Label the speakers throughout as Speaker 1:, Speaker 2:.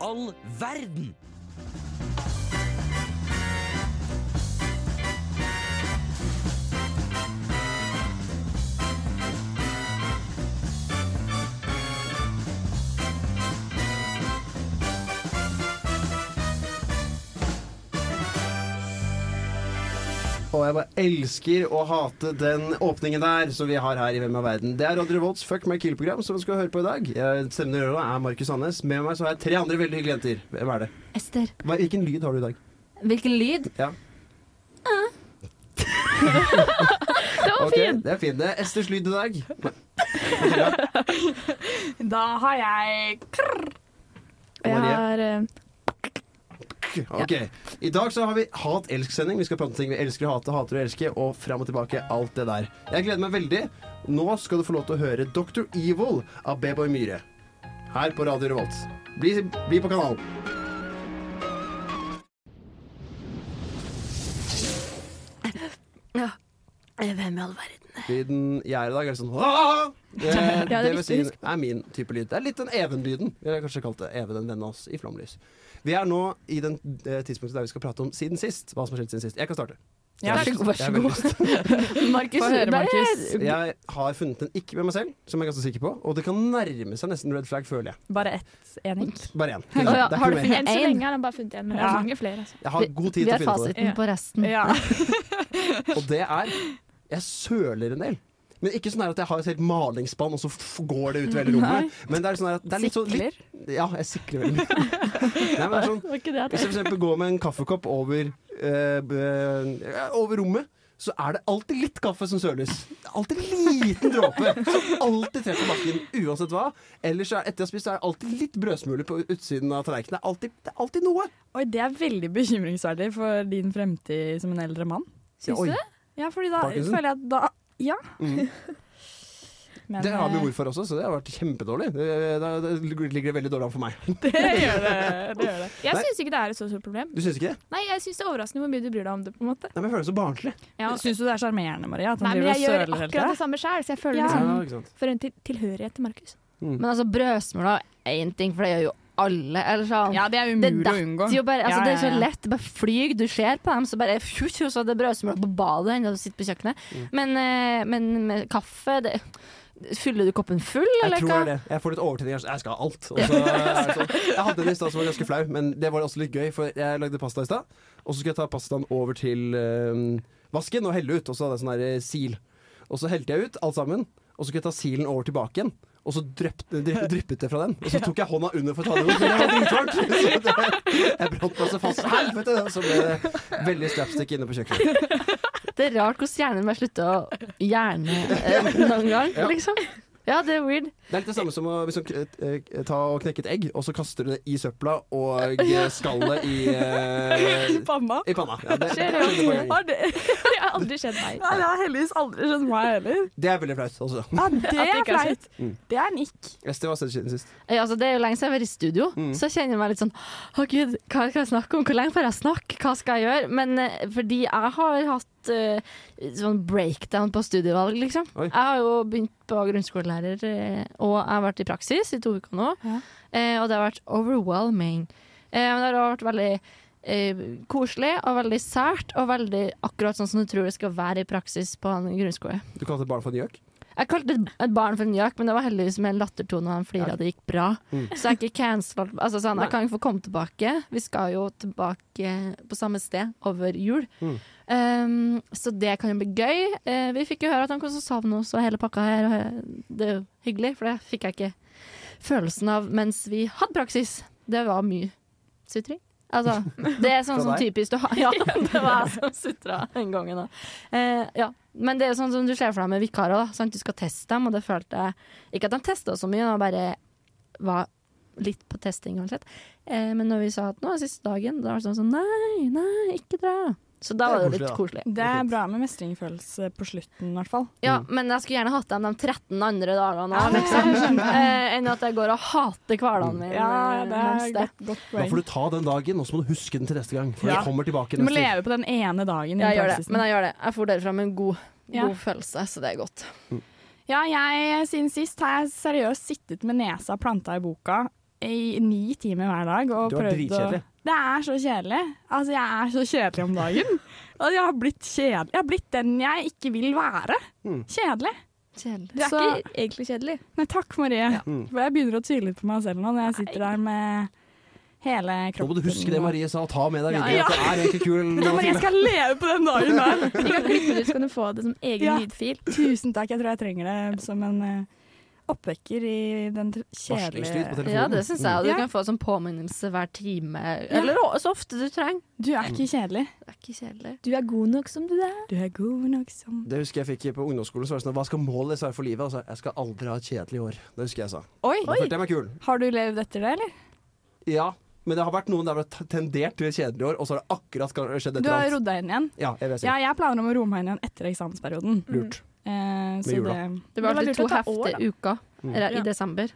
Speaker 1: all verden?
Speaker 2: Og jeg bare elsker å hate den åpningen der som vi har her i Hvem er verden. Det er Radio Revolts Fuck my kill-program som vi skal høre på i dag. Jeg- Stemmen i øret er Markus Sandnes. Med meg så har jeg tre andre veldig hyggelige jenter. Hvem er det?
Speaker 3: Ester,
Speaker 2: Hva, hvilken lyd har du i dag?
Speaker 3: hvilken lyd?
Speaker 2: Ja.
Speaker 4: Det var
Speaker 2: Ok,
Speaker 4: fint!
Speaker 2: det er fint. Det er Esters lyd i dag.
Speaker 5: Da har jeg
Speaker 2: Og
Speaker 4: Jeg
Speaker 2: Marie.
Speaker 4: har eh,
Speaker 2: Ok. I dag så har vi hat-elsk-sending. Vi skal prate om ting vi elsker å hate, hater å elske, og fram og tilbake. Alt det der. Jeg gleder meg veldig. Nå skal du få lov til å høre Dr. Evil av Beboy Myhre. Her på Radio Revolt. Bli, bli på kanalen.
Speaker 6: Hvem i all verden?
Speaker 2: Lyden jeg er i dag, er litt sånn «Aah!» det,
Speaker 4: Ja, det
Speaker 2: det,
Speaker 4: er
Speaker 2: vil
Speaker 4: viktig
Speaker 2: si,
Speaker 4: å huske.
Speaker 2: er min type lyd. Det er litt den Even-lyden. Vi har kanskje kalt det Even, en venn av oss, i Flomlys. Vi er nå i den eh, tidspunktet der vi skal prate om siden sist. Hva som har skjedd siden sist. Jeg kan starte.
Speaker 5: Ja,
Speaker 2: Jeg har-
Speaker 4: vær
Speaker 2: jeg
Speaker 4: så
Speaker 2: har veldig
Speaker 4: god.
Speaker 2: lyst.
Speaker 4: Markus,
Speaker 5: Få høre,
Speaker 4: der er-
Speaker 5: Markus.
Speaker 2: Jeg har funnet en ikke med meg selv, som jeg er ganske sikker på. Og det kan nærme seg nesten red flag, føler jeg.
Speaker 5: bare ett ening.
Speaker 2: Bare én.
Speaker 4: Å ja,
Speaker 2: Det er ikke
Speaker 4: har du
Speaker 2: mer.
Speaker 4: funnet
Speaker 3: Enn
Speaker 4: en?
Speaker 3: så
Speaker 4: Så
Speaker 3: lenge
Speaker 4: lenge har han bare funnet en, men
Speaker 5: det
Speaker 4: det
Speaker 5: er
Speaker 4: er
Speaker 5: Ja. Mm.
Speaker 4: mange flere.
Speaker 2: Jeg har god tid
Speaker 3: Vi
Speaker 2: til å
Speaker 3: har
Speaker 2: finne på det.
Speaker 3: fasiten
Speaker 5: Ja.
Speaker 3: på resten.
Speaker 5: Ja.
Speaker 2: Og det er Jeg søler en del. Men ikke sånn her at jeg har et helt malingsspann, og så f går det ut i hele rommet. Men det er sånn her at det er litt sånn litt, Ja, jeg sikler veldig mye. Nei, men det er sånn
Speaker 4: Var ikke det
Speaker 2: Hvis jeg for eksempel går med en kaffekopp over, eh, b- ja, over rommet, så er det alltid litt kaffe som søles. Det er Alltid en liten dråpe som alltid treffer bakken, uansett hva. Ellers er, etter jeg har spist, så er det alltid litt brødsmuler på utsiden av tallerkenen. Det er alltid, det er alltid noe.
Speaker 5: Oi, det er veldig bekymringsverdig for din fremtid som en eldre mann.
Speaker 2: Ja,
Speaker 3: Syns
Speaker 2: oi.
Speaker 3: du det?
Speaker 5: Ja, fordi da
Speaker 2: Parkinson?
Speaker 5: føler jeg at da Ja.
Speaker 2: Mhm.
Speaker 5: Men,
Speaker 2: Det har min
Speaker 5: eh,
Speaker 2: morfar også, så det har vært kjempedårlig. Det, det, det ligger det veldig dårlig an for meg.
Speaker 5: Det gjør det. det, gjør det.
Speaker 4: Jeg
Speaker 2: Nei.
Speaker 4: syns ikke det er et så stort problem.
Speaker 2: Du syns ikke det?
Speaker 4: Nei, jeg syns det er overraskende hvor mye du bryr deg om det. på en måte
Speaker 2: Nei, men Jeg føler det så barnslig.
Speaker 4: ja.
Speaker 5: Syns du det er sjarmerende, Maria? At hun
Speaker 4: Nei, men
Speaker 5: driver og
Speaker 4: jeg gjør
Speaker 5: søler hele
Speaker 4: akkurat
Speaker 5: tida?
Speaker 4: det samme sjøl, så jeg føler
Speaker 5: Ja.
Speaker 4: liksom
Speaker 2: ikke sant?
Speaker 4: for en til tilhørighet til Markus.
Speaker 3: Men altså, brødsmula er én ting, for det gjør jo alle. Eller sånn.
Speaker 5: Ja, det er
Speaker 3: Det
Speaker 5: umulig å unngå.
Speaker 3: detter jo bare, altså Det
Speaker 5: Ja,
Speaker 3: er
Speaker 5: ja,
Speaker 3: så
Speaker 5: ja.
Speaker 3: lett. Bare flyg. Du ser på dem, så bare fju, fju, så er det brødsmulere på badet enda du sitter på kjøkkenet.
Speaker 2: Mm.
Speaker 3: Men, eh, men med kaffe det, Fyller du koppen full,
Speaker 2: Jeg
Speaker 3: eller
Speaker 2: tror
Speaker 3: hva?
Speaker 2: det er det. Jeg får litt overtenning. Jeg skal ha alt. Og så er det sånn. Jeg hadde en i stad som var ganske flau, men det var også litt gøy, for jeg lagde pasta i stad. Og så skulle jeg ta pastaen over til eh, vasken og helle ut, og så hadde jeg sånn her eh, sil. Og så helte jeg ut alt sammen, og så skulle jeg ta silen over tilbake igjen. Og så drypp- drypp- dryppet det fra den. Og så tok jeg hånda under for å ta det ut. Det var dritvarmt! Så det- Jeg brant meg så fast. Helvete! Så ble det veldig slapstick inne på kjøkkenet.
Speaker 3: Det er rart hvordan hjernen min slutter å hjerne eh, noen gang,
Speaker 2: Ja.
Speaker 3: liksom. Ja, det er weird.
Speaker 2: Det er litt det samme som å liksom, eh, eh, ta og knekke et egg, og så kaster du det i søpla og eh, skallet i eh,
Speaker 5: Panna?
Speaker 2: I panna. Ja, det,
Speaker 4: Skjer
Speaker 2: det skjedde på en gang.
Speaker 4: Har det, det har aldri skjedd meg.
Speaker 5: Nei, det har heldigvis aldri skjedd meg heller.
Speaker 2: Det er veldig flaut. Altså.
Speaker 5: Ja, det
Speaker 4: det
Speaker 5: er
Speaker 4: ikke har
Speaker 5: flaut.
Speaker 2: Mm.
Speaker 5: Det er nikk.
Speaker 2: Ester, hva skjedde siden sist?
Speaker 3: Eh, Altså, det er jo lenge siden jeg har vært i studio,
Speaker 2: Mm.
Speaker 3: så jeg kjenner meg litt sånn Å gud, hva skal jeg snakke om? Hvor lenge får jeg snakke? Hva skal jeg gjøre? Men eh, fordi jeg har hatt eh, sånn breakdown på studievalg, liksom.
Speaker 2: Oi.
Speaker 3: Jeg har jo begynt på grunnskolelærer, eh, og jeg har vært i praksis i to uker nå.
Speaker 5: Ja.
Speaker 3: Eh, og det har vært overwhelming. Eh, men det har vært veldig eh, koselig og veldig sært, og veldig akkurat sånn som du tror det skal være i praksis på en grunnskole.
Speaker 2: Du kalte barn for en gjøk?
Speaker 3: Jeg kalte et- et barn for en jakk, men det var heldigvis med en lattertone og han flira.
Speaker 2: Ja.
Speaker 3: Det gikk bra.
Speaker 2: Mm.
Speaker 3: Så jeg er ikke cancelled. Altså, sånn, jeg kan ikke få komme tilbake. Vi skal jo tilbake på samme sted over jul.
Speaker 2: Mm.
Speaker 3: Um, så det kan jo bli gøy. Eh, vi fikk jo høre at han kom så savne oss og hele pakka her. Og eh, det er jo hyggelig, for det fikk jeg ikke følelsen av mens vi hadde praksis. Det var mye sutring. Altså, det er sånn
Speaker 2: Fra
Speaker 3: som
Speaker 2: deg?
Speaker 3: typisk du har Ja, det var jeg som sutra den gangen. Da. Eh, ja. Men det er jo sånn som du ser for deg med vikarer. Da, sant? Du skal teste dem, og det følte jeg Ikke at de testa så mye, de bare var litt på testing uansett. Eh, men når vi sa at nå er siste dagen, da var det sånn sånn Nei, nei, ikke dra. Så
Speaker 2: Det
Speaker 3: da
Speaker 2: er
Speaker 3: var det jo litt
Speaker 2: koselig,
Speaker 3: koselig.
Speaker 5: Det er bra med mestringsfølelse på slutten, i hvert fall.
Speaker 3: Ja, men jeg skulle gjerne hatt dem de 13 andre dagene òg, liksom. eh, enn at jeg går og hater hverdagen min
Speaker 5: Ja,
Speaker 3: eh,
Speaker 5: det
Speaker 3: mens
Speaker 5: er
Speaker 3: det.
Speaker 5: godt, godt
Speaker 2: Da får
Speaker 5: poeng.
Speaker 2: du ta den dagen, og så må du huske den til neste gang. For
Speaker 5: Ja.
Speaker 2: det kommer tilbake
Speaker 5: Du må
Speaker 2: neste
Speaker 5: leve på den ene dagen. i
Speaker 3: Jeg gjør det,
Speaker 5: praksisen.
Speaker 3: men jeg gjør det. Jeg får derfra med en god,
Speaker 5: Ja.
Speaker 3: god følelse, så det er godt.
Speaker 5: Ja, jeg siden sist har jeg seriøst sittet med nesa planta i boka i ni timer hver dag. Og
Speaker 2: Du var
Speaker 5: prøvd å-
Speaker 2: dritkjedelig.
Speaker 5: Det er så kjedelig. Altså, jeg er så kjedelig om dagen. Og jeg har blitt kjedelig. Jeg har blitt den jeg ikke vil være.
Speaker 2: Mm.
Speaker 5: Kjedelig.
Speaker 3: Kjedelig.
Speaker 4: Du er
Speaker 5: Så-
Speaker 4: ikke egentlig kjedelig.
Speaker 5: Nei, takk, Marie.
Speaker 2: Mm.
Speaker 5: For jeg begynner å tvile litt på meg selv nå når jeg sitter der med hele
Speaker 2: Nå
Speaker 5: kroppen.
Speaker 2: må du huske det Marie sa, og ta med deg
Speaker 5: Ja,
Speaker 2: videre.
Speaker 5: ja.
Speaker 2: at Det er egentlig kul
Speaker 5: Ja, men jeg skal leve på den dagen der.
Speaker 4: Vi kan klippe det ut, så kan du få det som egen
Speaker 5: Ja.
Speaker 4: lydfil.
Speaker 5: Tusen takk. Jeg tror jeg trenger det som en eh, oppvekker i den tr-
Speaker 2: Varslingslyd på
Speaker 5: kjedelige
Speaker 2: telefonen.
Speaker 3: Ja, det syns jeg. Og du
Speaker 5: Ja.
Speaker 3: kan få sånn påminnelse hver time, eller å- så ofte du trenger.
Speaker 5: Du er ikke kjedelig.
Speaker 2: Mm.
Speaker 3: Det er ikke kjedelig.
Speaker 4: Du er god nok som du er.
Speaker 5: Du er god nok som
Speaker 2: Mm. Det husker jeg fikk på ungdomsskolen. Så var det sånn, Hva skal målet være for livet? Altså, jeg skal aldri ha et kjedelig år. Det husker jeg sa.
Speaker 5: Oi!
Speaker 2: Da følte jeg meg kul.
Speaker 5: Har du levd etter det, eller?
Speaker 2: Ja, men det har vært noen der hvor det har tendert til kjedelige år, og så har det akkurat skjedd et
Speaker 5: Du har
Speaker 2: eller annet.
Speaker 5: rodd deg inn igjen?
Speaker 2: Ja, jeg vil si.
Speaker 5: Ja, jeg planer om å roe meg inn igjen etter eksamensperioden.
Speaker 2: Lurt.
Speaker 5: Eh, så
Speaker 2: jula.
Speaker 5: det
Speaker 3: Det var
Speaker 4: Det var
Speaker 3: alltid
Speaker 4: lurt
Speaker 3: to
Speaker 4: å ta år,
Speaker 3: heftige uker
Speaker 2: Mm.
Speaker 3: eller,
Speaker 4: Ja.
Speaker 3: i desember.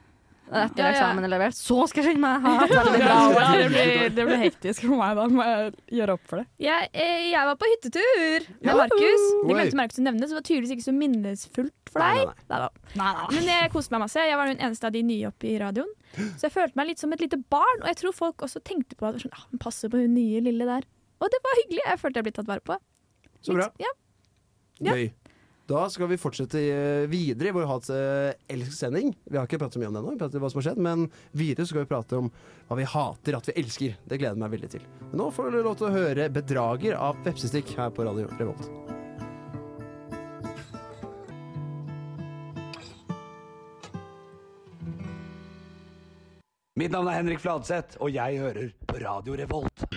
Speaker 3: Etter
Speaker 4: Ja, ja.
Speaker 3: eksamen er levert. Så skal jeg kjenne meg! Ha, hatt
Speaker 5: Ja,
Speaker 3: veldig bra år.
Speaker 5: det, blir, det blir hektisk for meg. Da må jeg gjøre opp for det.
Speaker 4: Jeg, eh, jeg var på hyttetur med
Speaker 2: Ja.
Speaker 4: Markus.
Speaker 2: Oi.
Speaker 4: Vi glemte Markus å nevne det, så det var tydeligvis ikke så minnesfullt for
Speaker 2: Nei, nei,
Speaker 4: deg.
Speaker 2: nei.
Speaker 4: Neida.
Speaker 5: Nei, nei.
Speaker 4: Men jeg koste meg masse. Jeg var jo den eneste av de nye oppe i radioen. Så jeg følte meg litt som et lite barn, og jeg tror folk også tenkte på at sånn, ah, men passe på hun nye lille der. Og det var hyggelig. Jeg følte jeg ble tatt vare på.
Speaker 2: Så bra.
Speaker 4: Ja. Ja.
Speaker 2: Gøy. Da skal vi fortsette eh, videre i vår Hats elsk-sending. Vi har ikke pratet så mye om det ennå, vi prater om hva som har skjedd, men videre skal vi prate om hva vi hater at vi elsker. Det gleder jeg meg veldig til. Men nå får du lov til å høre 'Bedrager' av Vepsestikk her på Radio Revolt.
Speaker 1: Mitt navn er Henrik Fladseth, og jeg hører på Radio Revolt.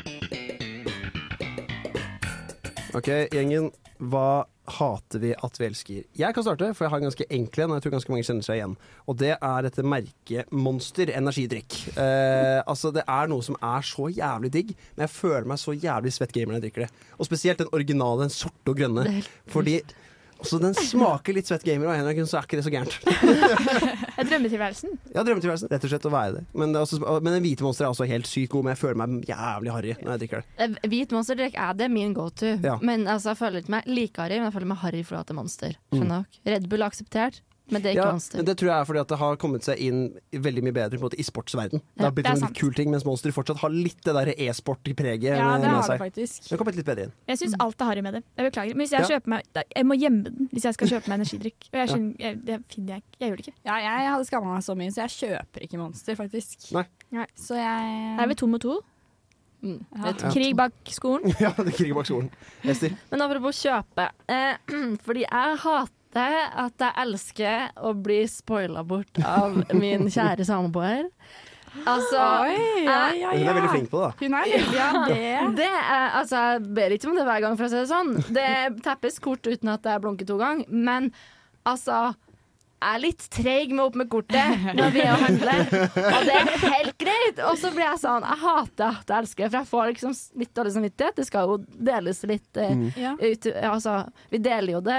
Speaker 2: Ok, gjengen. Hva hater vi at vi elsker? Jeg kan starte, for jeg har en ganske enkel en. Og jeg tror ganske mange kjenner seg igjen. Og det er dette merket Monster energidrikk. Eh, altså, det er noe som er så jævlig digg, men jeg føler meg så jævlig svett gamer når jeg drikker det. Og spesielt den originale, den sorte og grønne. Fordi Altså, den smaker litt svett gamer, og Henrik, så er ikke det så gærent.
Speaker 4: Jeg drømmetilværelsen.
Speaker 2: Ja, drømmetilværelsen. Rett og slett å være det. Men, det er også, men den hvite monster er også helt sykt god, men jeg føler meg jævlig harry når jeg drikker det.
Speaker 3: Eh, Hvit monster drikk er det min go to.
Speaker 2: Ja.
Speaker 3: Men altså, jeg føler ikke meg like harry, men jeg føler meg harry fordi at det er monster. Skjønner dere? Red Bull er akseptert, men det er ikke monster.
Speaker 2: Mm. men det tror jeg er fordi at det har kommet seg inn veldig mye bedre på en måte, i sportsverden. Det har blitt
Speaker 4: det er
Speaker 2: en
Speaker 4: sant.
Speaker 2: kul ting, mens Monster fortsatt har litt det der e-sport-preget
Speaker 5: Ja,
Speaker 2: eh, med
Speaker 5: det har det
Speaker 2: seg.
Speaker 5: faktisk.
Speaker 2: Det har kommet litt bedre inn.
Speaker 4: Jeg syns alt er harry med det. Jeg beklager. Men hvis jeg
Speaker 2: Mm. Ja.
Speaker 4: kjøper meg da- Jeg må gjemme den hvis jeg skal kjøpe meg energidrikk. Og jeg skjønner, jeg, det finner jeg ikke. Jeg gjør det ikke.
Speaker 5: Ja, jeg hadde skamma meg så mye, så jeg kjøper ikke Monster, faktisk.
Speaker 2: Nei.
Speaker 4: Nei.
Speaker 5: Så jeg
Speaker 4: Da er vi to mot to.
Speaker 3: Mm.
Speaker 5: Ja.
Speaker 3: Jeg tror-
Speaker 4: Krig bak skolen.
Speaker 2: ja, det kriger bak skolen. Ester.
Speaker 3: Men apropos kjøpe. Eh, fordi jeg hater at jeg elsker å bli spoila bort av min kjære samboer. Altså
Speaker 5: Oi, ja, ja,
Speaker 2: Hun
Speaker 5: ja.
Speaker 2: er veldig flink på det. da.
Speaker 5: Hun er veldig ja, det.
Speaker 3: det er, altså, jeg ber ikke om det hver gang, for å si det sånn. Det teppes kort uten at jeg blunker to ganger. Men altså jeg er litt treig med opp med kortet når vi er og handler, og det er helt greit. Og så blir jeg sånn Jeg hater at jeg elsker, for jeg får liksom litt dårlig samvittighet. Det skal jo deles litt eh,
Speaker 5: Ja.
Speaker 3: ut, altså, vi deler jo det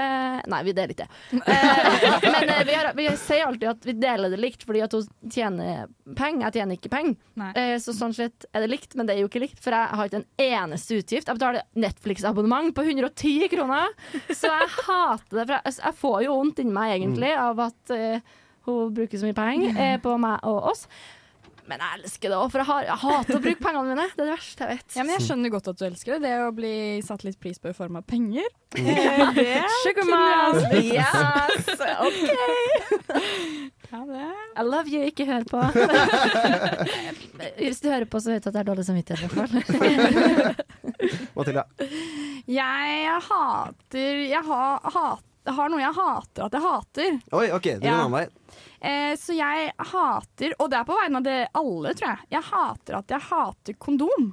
Speaker 3: Nei, vi deler ikke. Eh, men eh, vi, har, vi sier alltid at vi deler det likt, fordi at hun tjener penger. Jeg tjener ikke penger.
Speaker 5: Nei.
Speaker 3: Eh, så sånn sett er det likt, men det er jo ikke likt, for jeg har ikke en eneste utgift. Jeg betaler Netflix-abonnement på 110 kroner, så jeg hater det. For jeg, altså, jeg får jo vondt inni meg egentlig
Speaker 5: Mm.
Speaker 3: av at eh, hun bruker så mye penger eh, på meg og oss. Men jeg elsker det òg, for jeg, har, jeg hater å bruke pengene mine. Det er det verste jeg vet.
Speaker 5: Ja, men jeg
Speaker 2: Sånn.
Speaker 5: skjønner godt at du elsker det. Det å bli satt litt pris på i form av penger. Eh, Det
Speaker 3: Sugar
Speaker 5: kunne
Speaker 3: mom, yes! OK.
Speaker 5: jeg- Ja, det.
Speaker 3: I love you, ikke hør på. Hvis du hører på, så vet du at det er dårlig samvittighet. i hvert fall.
Speaker 2: Mathilda.
Speaker 5: Jeg hater Jeg ha, hat, har noe jeg hater at jeg hater.
Speaker 2: Oi, OK, det går en
Speaker 5: Ja.
Speaker 2: annen vei.
Speaker 5: Eh, så jeg hater, og det er på vegne av det alle, tror jeg, jeg hater at jeg hater kondom.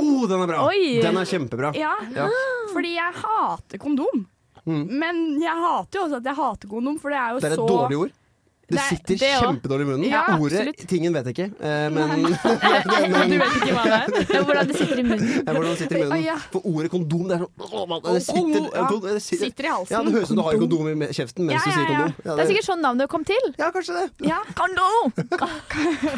Speaker 2: Oh, den er bra!
Speaker 4: Oi.
Speaker 2: Den er kjempebra.
Speaker 5: Ja,
Speaker 2: Ja.
Speaker 5: fordi jeg hater kondom.
Speaker 2: Mm.
Speaker 5: Men jeg hater jo også at jeg hater kondom, for det er jo
Speaker 2: Det er et
Speaker 5: så
Speaker 2: dårlig ord. Det
Speaker 5: Det er-
Speaker 2: sitter
Speaker 5: det også.
Speaker 2: kjempedårlig i munnen.
Speaker 5: Ja,
Speaker 2: Ordet,
Speaker 5: absolutt.
Speaker 2: tingen vet jeg ikke, eh, men
Speaker 4: Du vet ikke hva det er. Det er Hvordan det sitter i munnen.
Speaker 2: Ja, hvordan det sitter i munnen.
Speaker 5: Å, ja.
Speaker 2: For ordet kondom, det er sånn Det sitter,
Speaker 5: Ja,
Speaker 2: det sitter
Speaker 5: Sitter i halsen.
Speaker 2: Ja, det høres ut som du har
Speaker 5: Kondom.
Speaker 2: kondom i kjeften mens
Speaker 5: Ja,
Speaker 2: du sier
Speaker 5: ja, ja.
Speaker 2: kondom. Ja,
Speaker 4: Det er sikkert sånn navnet kom til.
Speaker 2: ja, kanskje det.
Speaker 5: Ja.
Speaker 4: Kondom!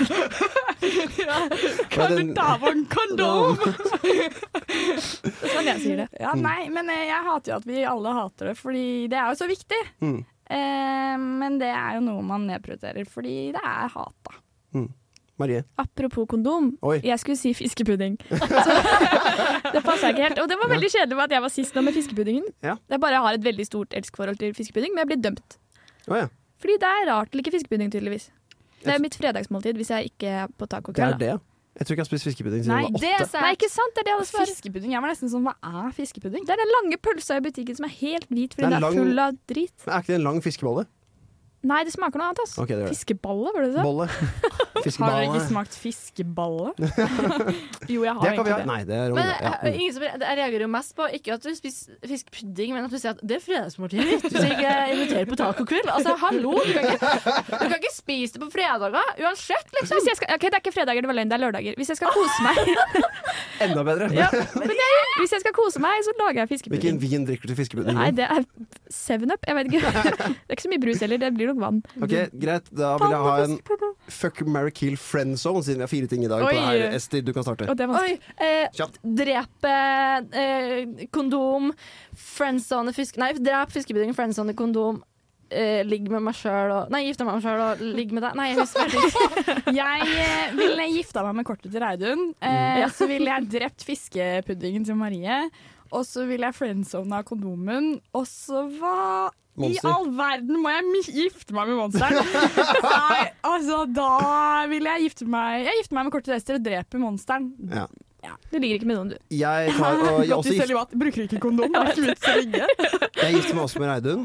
Speaker 2: Ja,
Speaker 5: Kan
Speaker 2: den-
Speaker 5: du ta på en kondom?
Speaker 4: Det er sånn jeg sier det.
Speaker 5: Ja,
Speaker 2: Mm.
Speaker 5: nei, men eh, jeg hater jo at vi alle hater det, fordi det er jo så viktig.
Speaker 2: Mm.
Speaker 5: Eh, men det er jo noe man nedprioriterer, fordi det er hata.
Speaker 2: Marie.
Speaker 4: Apropos kondom.
Speaker 2: Oi.
Speaker 4: Jeg skulle si fiskepudding. Så, det passa ikke helt. Og det var veldig kjedelig med at jeg var sist nå med fiskepuddingen.
Speaker 2: Ja.
Speaker 4: Jeg bare har et veldig stort elskforhold til fiskepudding, men jeg blir dømt.
Speaker 2: Å ja.
Speaker 4: Fordi det er rart å like fiskepudding, tydeligvis. Det
Speaker 2: Jeg-
Speaker 4: er mitt fredagsmåltid hvis jeg ikke er
Speaker 2: Det
Speaker 4: på
Speaker 2: er
Speaker 4: tacokveld. da.
Speaker 2: det. Jeg tror ikke jeg har spist fiskepudding siden
Speaker 5: Nei,
Speaker 2: jeg var
Speaker 5: det er
Speaker 2: åtte.
Speaker 4: Nei,
Speaker 5: sært.
Speaker 4: ikke sant? Det er det alle svarer.
Speaker 5: Fiskepudding. Jeg var nesten sånn, hva er fiskepudding?
Speaker 4: Det er den lange pølsa i butikken som er helt hvit fordi
Speaker 2: Det er
Speaker 4: den er
Speaker 2: lang-
Speaker 4: full av drit.
Speaker 2: Men Er ikke det en lang fiskebolle?
Speaker 4: Nei, det smaker noe annet, ass.
Speaker 2: Ok, det gjør det.
Speaker 4: Fiskebolle, var det det?
Speaker 2: Bolle.
Speaker 5: Har dere
Speaker 2: Fiskeballe.
Speaker 5: ikke smakt fiskeballe? jo, jeg har
Speaker 2: Det kan vi
Speaker 5: egentlig
Speaker 2: ha.
Speaker 5: det.
Speaker 2: Nei, det er
Speaker 3: Men
Speaker 2: ja. mm.
Speaker 3: eh, ingen som, jeg reagerer jo mest på ikke at du spiser fiskepudding, men at du sier at det er fredagsmåltidet ditt. Hvis jeg ikke inviterer på tacokveld. Altså, hallo! Du kan, ikke, du kan ikke spise det på fredager uansett, liksom.
Speaker 4: Hvis jeg skal, ok, Det er ikke fredager, det var løgn, det er lørdager. Hvis jeg skal kose meg,
Speaker 2: Enda bedre.
Speaker 4: hvis jeg skal kose meg så lager jeg fiskepudding.
Speaker 2: Hvilken vin drikker du til fiskepudding?
Speaker 4: Nei, det er Seven Up. Jeg vet ikke. Det er ikke så mye brus heller. Det blir nok vann.
Speaker 2: Ok, Greit, da vil jeg ha en fuck, marry, kill friend zone, siden vi har fire ting i dag. på
Speaker 4: Oi.
Speaker 2: det her. Esti, du kan starte.
Speaker 4: Og det er vanskelig.
Speaker 3: Oi, eh,
Speaker 2: Kjapt.
Speaker 3: drepe eh, kondom, friendzone fisk... Nei, drep fiskepudding, friendzone kondom. Eh, ligg med meg sjøl og Nei, gifte meg med meg sjøl og ligg med deg. Nei, jeg husker ikke.
Speaker 5: Jeg eh, ville gifta meg med kortet til Reidun.
Speaker 2: Mm.
Speaker 5: Eh, Så ville jeg drept fiskepuddingen til Marie. Og så ville jeg friendzona kondomen. Og så hva
Speaker 2: Monster.
Speaker 5: i all verden må jeg mi- gifte meg med monsteren? Nei, altså da vil jeg gifte meg Jeg gifter meg med kortet til Ester og dreper monsteren.
Speaker 2: Ja.
Speaker 4: Du ligger ikke med noen, du.
Speaker 2: Jeg, tar, og jeg, er
Speaker 5: Godt
Speaker 2: også
Speaker 5: i
Speaker 2: gift,
Speaker 5: celibat. Bruker ikke kondom. Det er ikke vits å ligge.
Speaker 2: jeg er gift meg også med Reidun.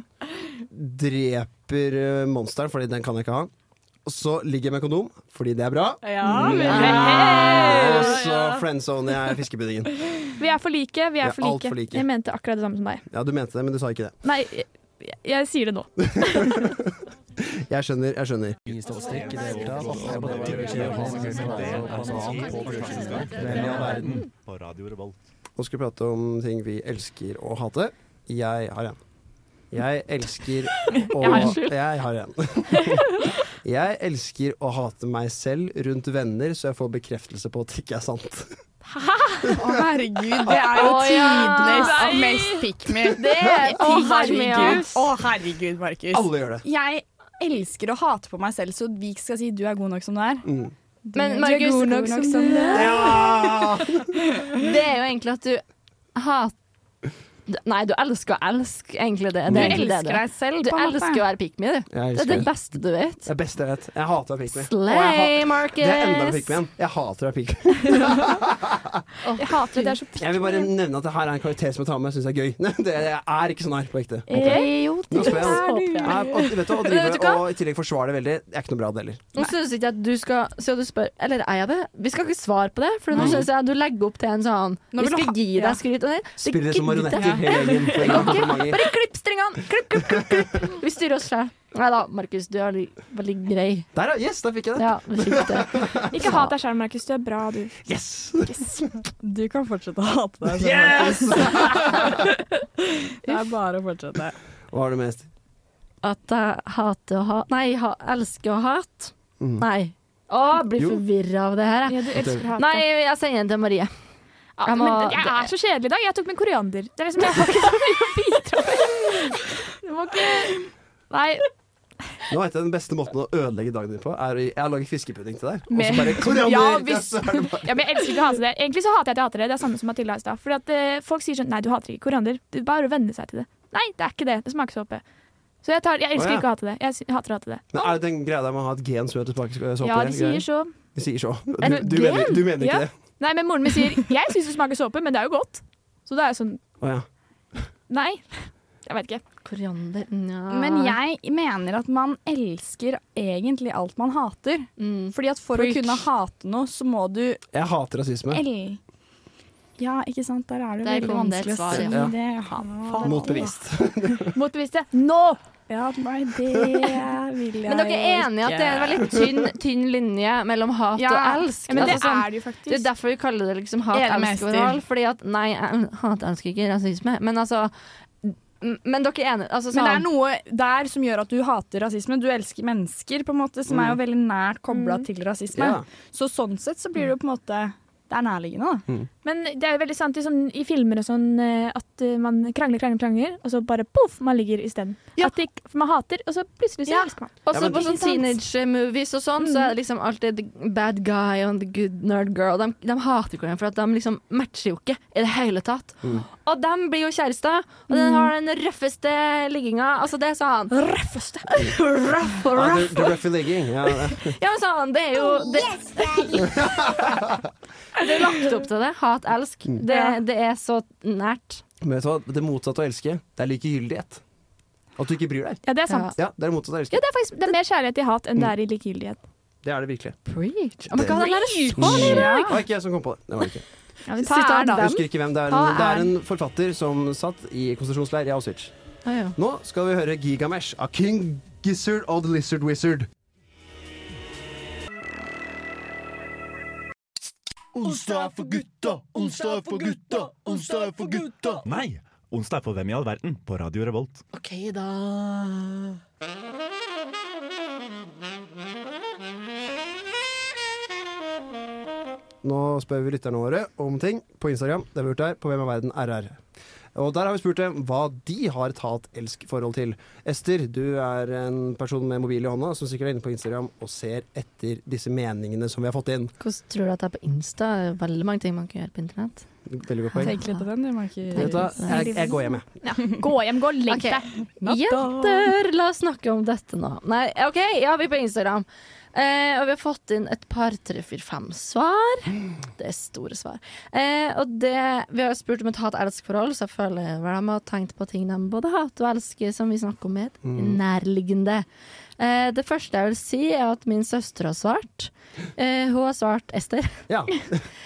Speaker 2: Dreper eh, monsteren, fordi den kan jeg ikke ha. Og så ligger jeg med kondom, fordi det er bra.
Speaker 5: Ja,
Speaker 2: Mm. Og
Speaker 5: vel.
Speaker 2: så friendzoner jeg fiskepuddingen.
Speaker 4: Vi er for like. Vi
Speaker 2: er
Speaker 4: er for
Speaker 2: alt for
Speaker 4: like.
Speaker 2: like.
Speaker 4: Jeg mente akkurat det samme som deg.
Speaker 2: Ja, du mente det, men du sa ikke det.
Speaker 4: Nei, jeg, jeg sier det nå.
Speaker 2: Jeg skjønner, jeg skjønner. sånn
Speaker 7: sånn
Speaker 1: På Radio Revolt.
Speaker 2: Nå skal vi prate om ting vi elsker å hate. Jeg har en. Jeg elsker å
Speaker 4: Jeg har en skyld.
Speaker 2: Jeg har en. Jeg elsker å hate meg selv rundt venner, så jeg får bekreftelse på at det ikke er sant.
Speaker 5: Å, herregud, det er jo
Speaker 3: Å, ja.
Speaker 5: tidenes
Speaker 3: Nei.
Speaker 5: mest pick me.
Speaker 3: Det er
Speaker 5: Å, herregud.
Speaker 3: Hermia.
Speaker 5: Å, herregud, Markus.
Speaker 2: Alle gjør det.
Speaker 5: Jeg elsker å hate på meg selv, så vi skal si du er god nok som du er.
Speaker 2: Mm.
Speaker 3: Men
Speaker 4: Du er
Speaker 3: Markus,
Speaker 4: god nok som du er.
Speaker 2: Ja!
Speaker 3: det er jo egentlig at du hater Nei, du elsker å elske, egentlig. det,
Speaker 2: Du
Speaker 3: det
Speaker 5: Du
Speaker 3: er egentlig det
Speaker 5: elsker deg selv,
Speaker 3: Du
Speaker 5: på en
Speaker 3: elsker å
Speaker 5: måte.
Speaker 3: være pick me, du.
Speaker 2: Jeg
Speaker 3: Det er det
Speaker 2: elsker det.
Speaker 3: beste du vet.
Speaker 2: Det er beste jeg vet. Jeg hater å være pikmin.
Speaker 3: Slay,
Speaker 2: Det er enda en
Speaker 3: Markus.
Speaker 2: pikmin. Jeg hater å være pikmin.
Speaker 4: Jeg hater det. Det er så
Speaker 2: Jeg vil bare nevne at det her er en karakter som jeg tar med, syns jeg er gøy. Nei, Det, jeg er ikke sånn her på ekte.
Speaker 4: Eh, Jo,
Speaker 2: Nå skal jeg-
Speaker 4: håper jeg.
Speaker 2: Nei, og, vet du, å
Speaker 3: Vet du
Speaker 2: drive
Speaker 3: hva?
Speaker 2: og i tillegg forsvare det veldig, det er ikke noe bra det heller.
Speaker 3: Nå synes ikke jeg at du skal Så du spør Eller er jeg det? Vi skal ikke svare på det, for nå synes jeg at du legger opp til en sånn
Speaker 5: Nå
Speaker 3: Vi
Speaker 5: vil du
Speaker 3: skal
Speaker 5: ha-
Speaker 3: gi
Speaker 5: ja.
Speaker 3: deg skryt. av det. Det
Speaker 2: Spiller som
Speaker 3: gidder jeg.
Speaker 2: marionetter hele gjengen. for å gi komplimenter.
Speaker 3: Bare klipp stringene! Klipp, klipp, klipp, klipp. Vi styrer oss sjøl. Nei da, Markus, du er li- veldig grei.
Speaker 2: Der, ja. Yes, der fikk jeg det.
Speaker 3: Ja, vi fikk det.
Speaker 4: Ikke hat deg sjøl, Markus. Du er bra, du.
Speaker 2: Yes!
Speaker 5: Du kan fortsette å hate deg selv.
Speaker 2: Yes!
Speaker 5: Markus. Det er bare å fortsette.
Speaker 2: Hva har du mest?
Speaker 3: At jeg hater å ha Nei, ha, elsker å hate.
Speaker 2: Mm.
Speaker 3: Nei. Å, jeg blir
Speaker 2: Jo.
Speaker 3: forvirra av det her, jeg.
Speaker 4: Ja, du elsker å hate.
Speaker 3: Nei, jeg sender den til Marie.
Speaker 4: Ja,
Speaker 3: Jeg må-
Speaker 4: men jeg er så kjedelig i dag. Jeg tok med koriander. Det er liksom, jeg har ikke så mye å bidra med. Det var ikke Nei,
Speaker 2: Nå vet jeg Den beste måten å ødelegge dagen din på, er å- Jeg har laget fiskepudding til deg. Og
Speaker 4: Med-
Speaker 2: så bare koriander.
Speaker 4: Ja, hvis-
Speaker 2: så er det bare-
Speaker 4: ja, men jeg elsker ikke å hate det. Egentlig så hater jeg at jeg hater det. Det er samme som Mathilda i stad. Fordi at eh, folk sier sånn Nei, du hater ikke koriander. Du bare venner seg til det. Nei, det er ikke det. Det smaker såpe. Så jeg, tar, jeg elsker
Speaker 2: Å, ja.
Speaker 4: ikke å hate det. Jeg sy- hater å hate det.
Speaker 2: Men er det den greia der med å ha et gen som gjør at du tilbake skal såpe?
Speaker 4: Ja, de sier så.
Speaker 2: De sier så. Du,
Speaker 3: Et
Speaker 2: du,
Speaker 3: gen?
Speaker 2: mener, du mener ikke
Speaker 4: Ja.
Speaker 2: det?
Speaker 4: Nei, men moren min sier Jeg syns det smaker såpe, men det er jo godt. Så da er jeg sånn
Speaker 2: Å ja.
Speaker 4: Nei. Jeg vet ikke.
Speaker 3: Koriander nja.
Speaker 5: Men jeg mener at man elsker egentlig alt man hater.
Speaker 3: mm.
Speaker 5: Fordi at for
Speaker 3: Preach.
Speaker 5: å kunne hate noe, så må du
Speaker 2: Jeg hater rasisme.
Speaker 5: el... Ja, ikke sant. Der er det,
Speaker 3: Det er
Speaker 5: veldig
Speaker 3: kondensert
Speaker 5: vanskelig å
Speaker 3: svar,
Speaker 5: si
Speaker 3: ja.
Speaker 5: det. Ja, faen.
Speaker 2: Motbevist.
Speaker 4: Motbevis det. Nå!
Speaker 5: Ja, nei, det vil jeg
Speaker 3: Men dere er enige at det er en veldig tynn, tynn linje mellom hat og elsk?
Speaker 5: Ja, men det
Speaker 3: Altså sånn-
Speaker 5: er det jo
Speaker 3: Det er
Speaker 5: faktisk.
Speaker 3: derfor vi kaller det liksom hat,
Speaker 5: Enig med
Speaker 3: elsk og
Speaker 5: Ester.
Speaker 3: moral. Fordi at nei, jeg hat, elsker ikke rasisme. Men altså m- Men dere er enige? Altså,
Speaker 5: Men det er
Speaker 3: sånn,
Speaker 5: noe der som gjør at du hater rasisme. Du elsker mennesker, på en måte, som er jo veldig nært kobla til rasisme.
Speaker 2: Ja.
Speaker 5: Så sånn sett så blir det jo på en måte Det er nærliggende, da.
Speaker 4: Men det er jo veldig sant i, sånn, i filmer og sånn eh, at eh, man krangler, krangler, krangler, og så bare poff, man ligger isteden.
Speaker 5: Ja.
Speaker 4: At det ikke- For man hater, og så plutselig så
Speaker 3: Ja.
Speaker 4: elsker man.
Speaker 3: Også
Speaker 2: Ja, men-
Speaker 3: på sånn teenage-movies og sånn, så er det liksom alltid the bad guy and the good nerd girl. De, de hater hverandre for at de liksom matcher jo ikke i det hele tatt. Og de blir jo kjærester, og den har den røffeste ligginga. Altså, det sa han. Røffeste! Røff og
Speaker 2: Ja,
Speaker 3: røff.
Speaker 2: the, the rough legging. Ja,
Speaker 3: Ja, men sa han, det er jo Det, det er lagt opp til det. Hat, elsk. Det, det er så nært.
Speaker 2: Men vet du hva? Det motsatte av å elske, det er likegyldighet. At du ikke bryr deg.
Speaker 4: Ja, det er sant.
Speaker 2: Ja, det er det motsatte av å
Speaker 4: Ja,
Speaker 2: elske.
Speaker 4: det er faktisk det er mer kjærlighet i hat enn det er i likegyldighet.
Speaker 2: Det er det virkelig.
Speaker 3: Preach. Oh my God, den er så
Speaker 2: Det
Speaker 3: nydelig.
Speaker 2: var ikke jeg som kom på det. det var det ikke.
Speaker 4: Ja, men
Speaker 5: Sitter
Speaker 4: ta
Speaker 5: han
Speaker 4: den,
Speaker 5: der?
Speaker 2: Jeg husker ikke hvem. Det er en, det er en forfatter som satt i konsentrasjonsleir i Auschwitz.
Speaker 3: Ja, ja.
Speaker 2: Nå skal vi høre Gigamesh av King Gizzard og The Lizard Wizard.
Speaker 7: Onsdag er for gutta, onsdag er for gutta, onsdag er for gutta.
Speaker 8: Nei! Onsdag er for Hvem i all verden på Radio Revolt.
Speaker 6: OK, da.
Speaker 2: Nå spør vi lytterne våre om ting på Instagram. Det har vi gjort der, på Hvem er verden RR. Og der har vi spurt dem hva de har et hat-elsk-forhold til. Ester, du er en person med mobil i hånda som sikkert er inne på Instagram og ser etter disse meningene som vi har fått inn.
Speaker 3: Hvordan tror du at det er på Insta? Det er Veldig mange ting man kan gjøre på internett.
Speaker 2: Veldig godt poeng.
Speaker 5: Tenk litt på den,
Speaker 2: Vet
Speaker 5: du,
Speaker 2: du
Speaker 5: Marker. sånn
Speaker 2: hva? Jeg, jeg går hjem, jeg.
Speaker 4: Gå hjem, gå og legg
Speaker 3: Ok.
Speaker 4: deg.
Speaker 3: Jenter, la oss snakke om dette nå. Nei, OK, ja, vi er på Instagram. Eh, og vi har fått inn et par, tre, fire, fem svar. Det er store svar. Eh, og det, vi har jo spurt om et hat-elsk-forhold, så jeg føler vel de har tenkt på ting de både hater og elsker, som vi snakker om i et nærliggende. Eh, det første jeg vil si, er at min søster har svart. Eh, hun har svart Ester.
Speaker 2: Ja.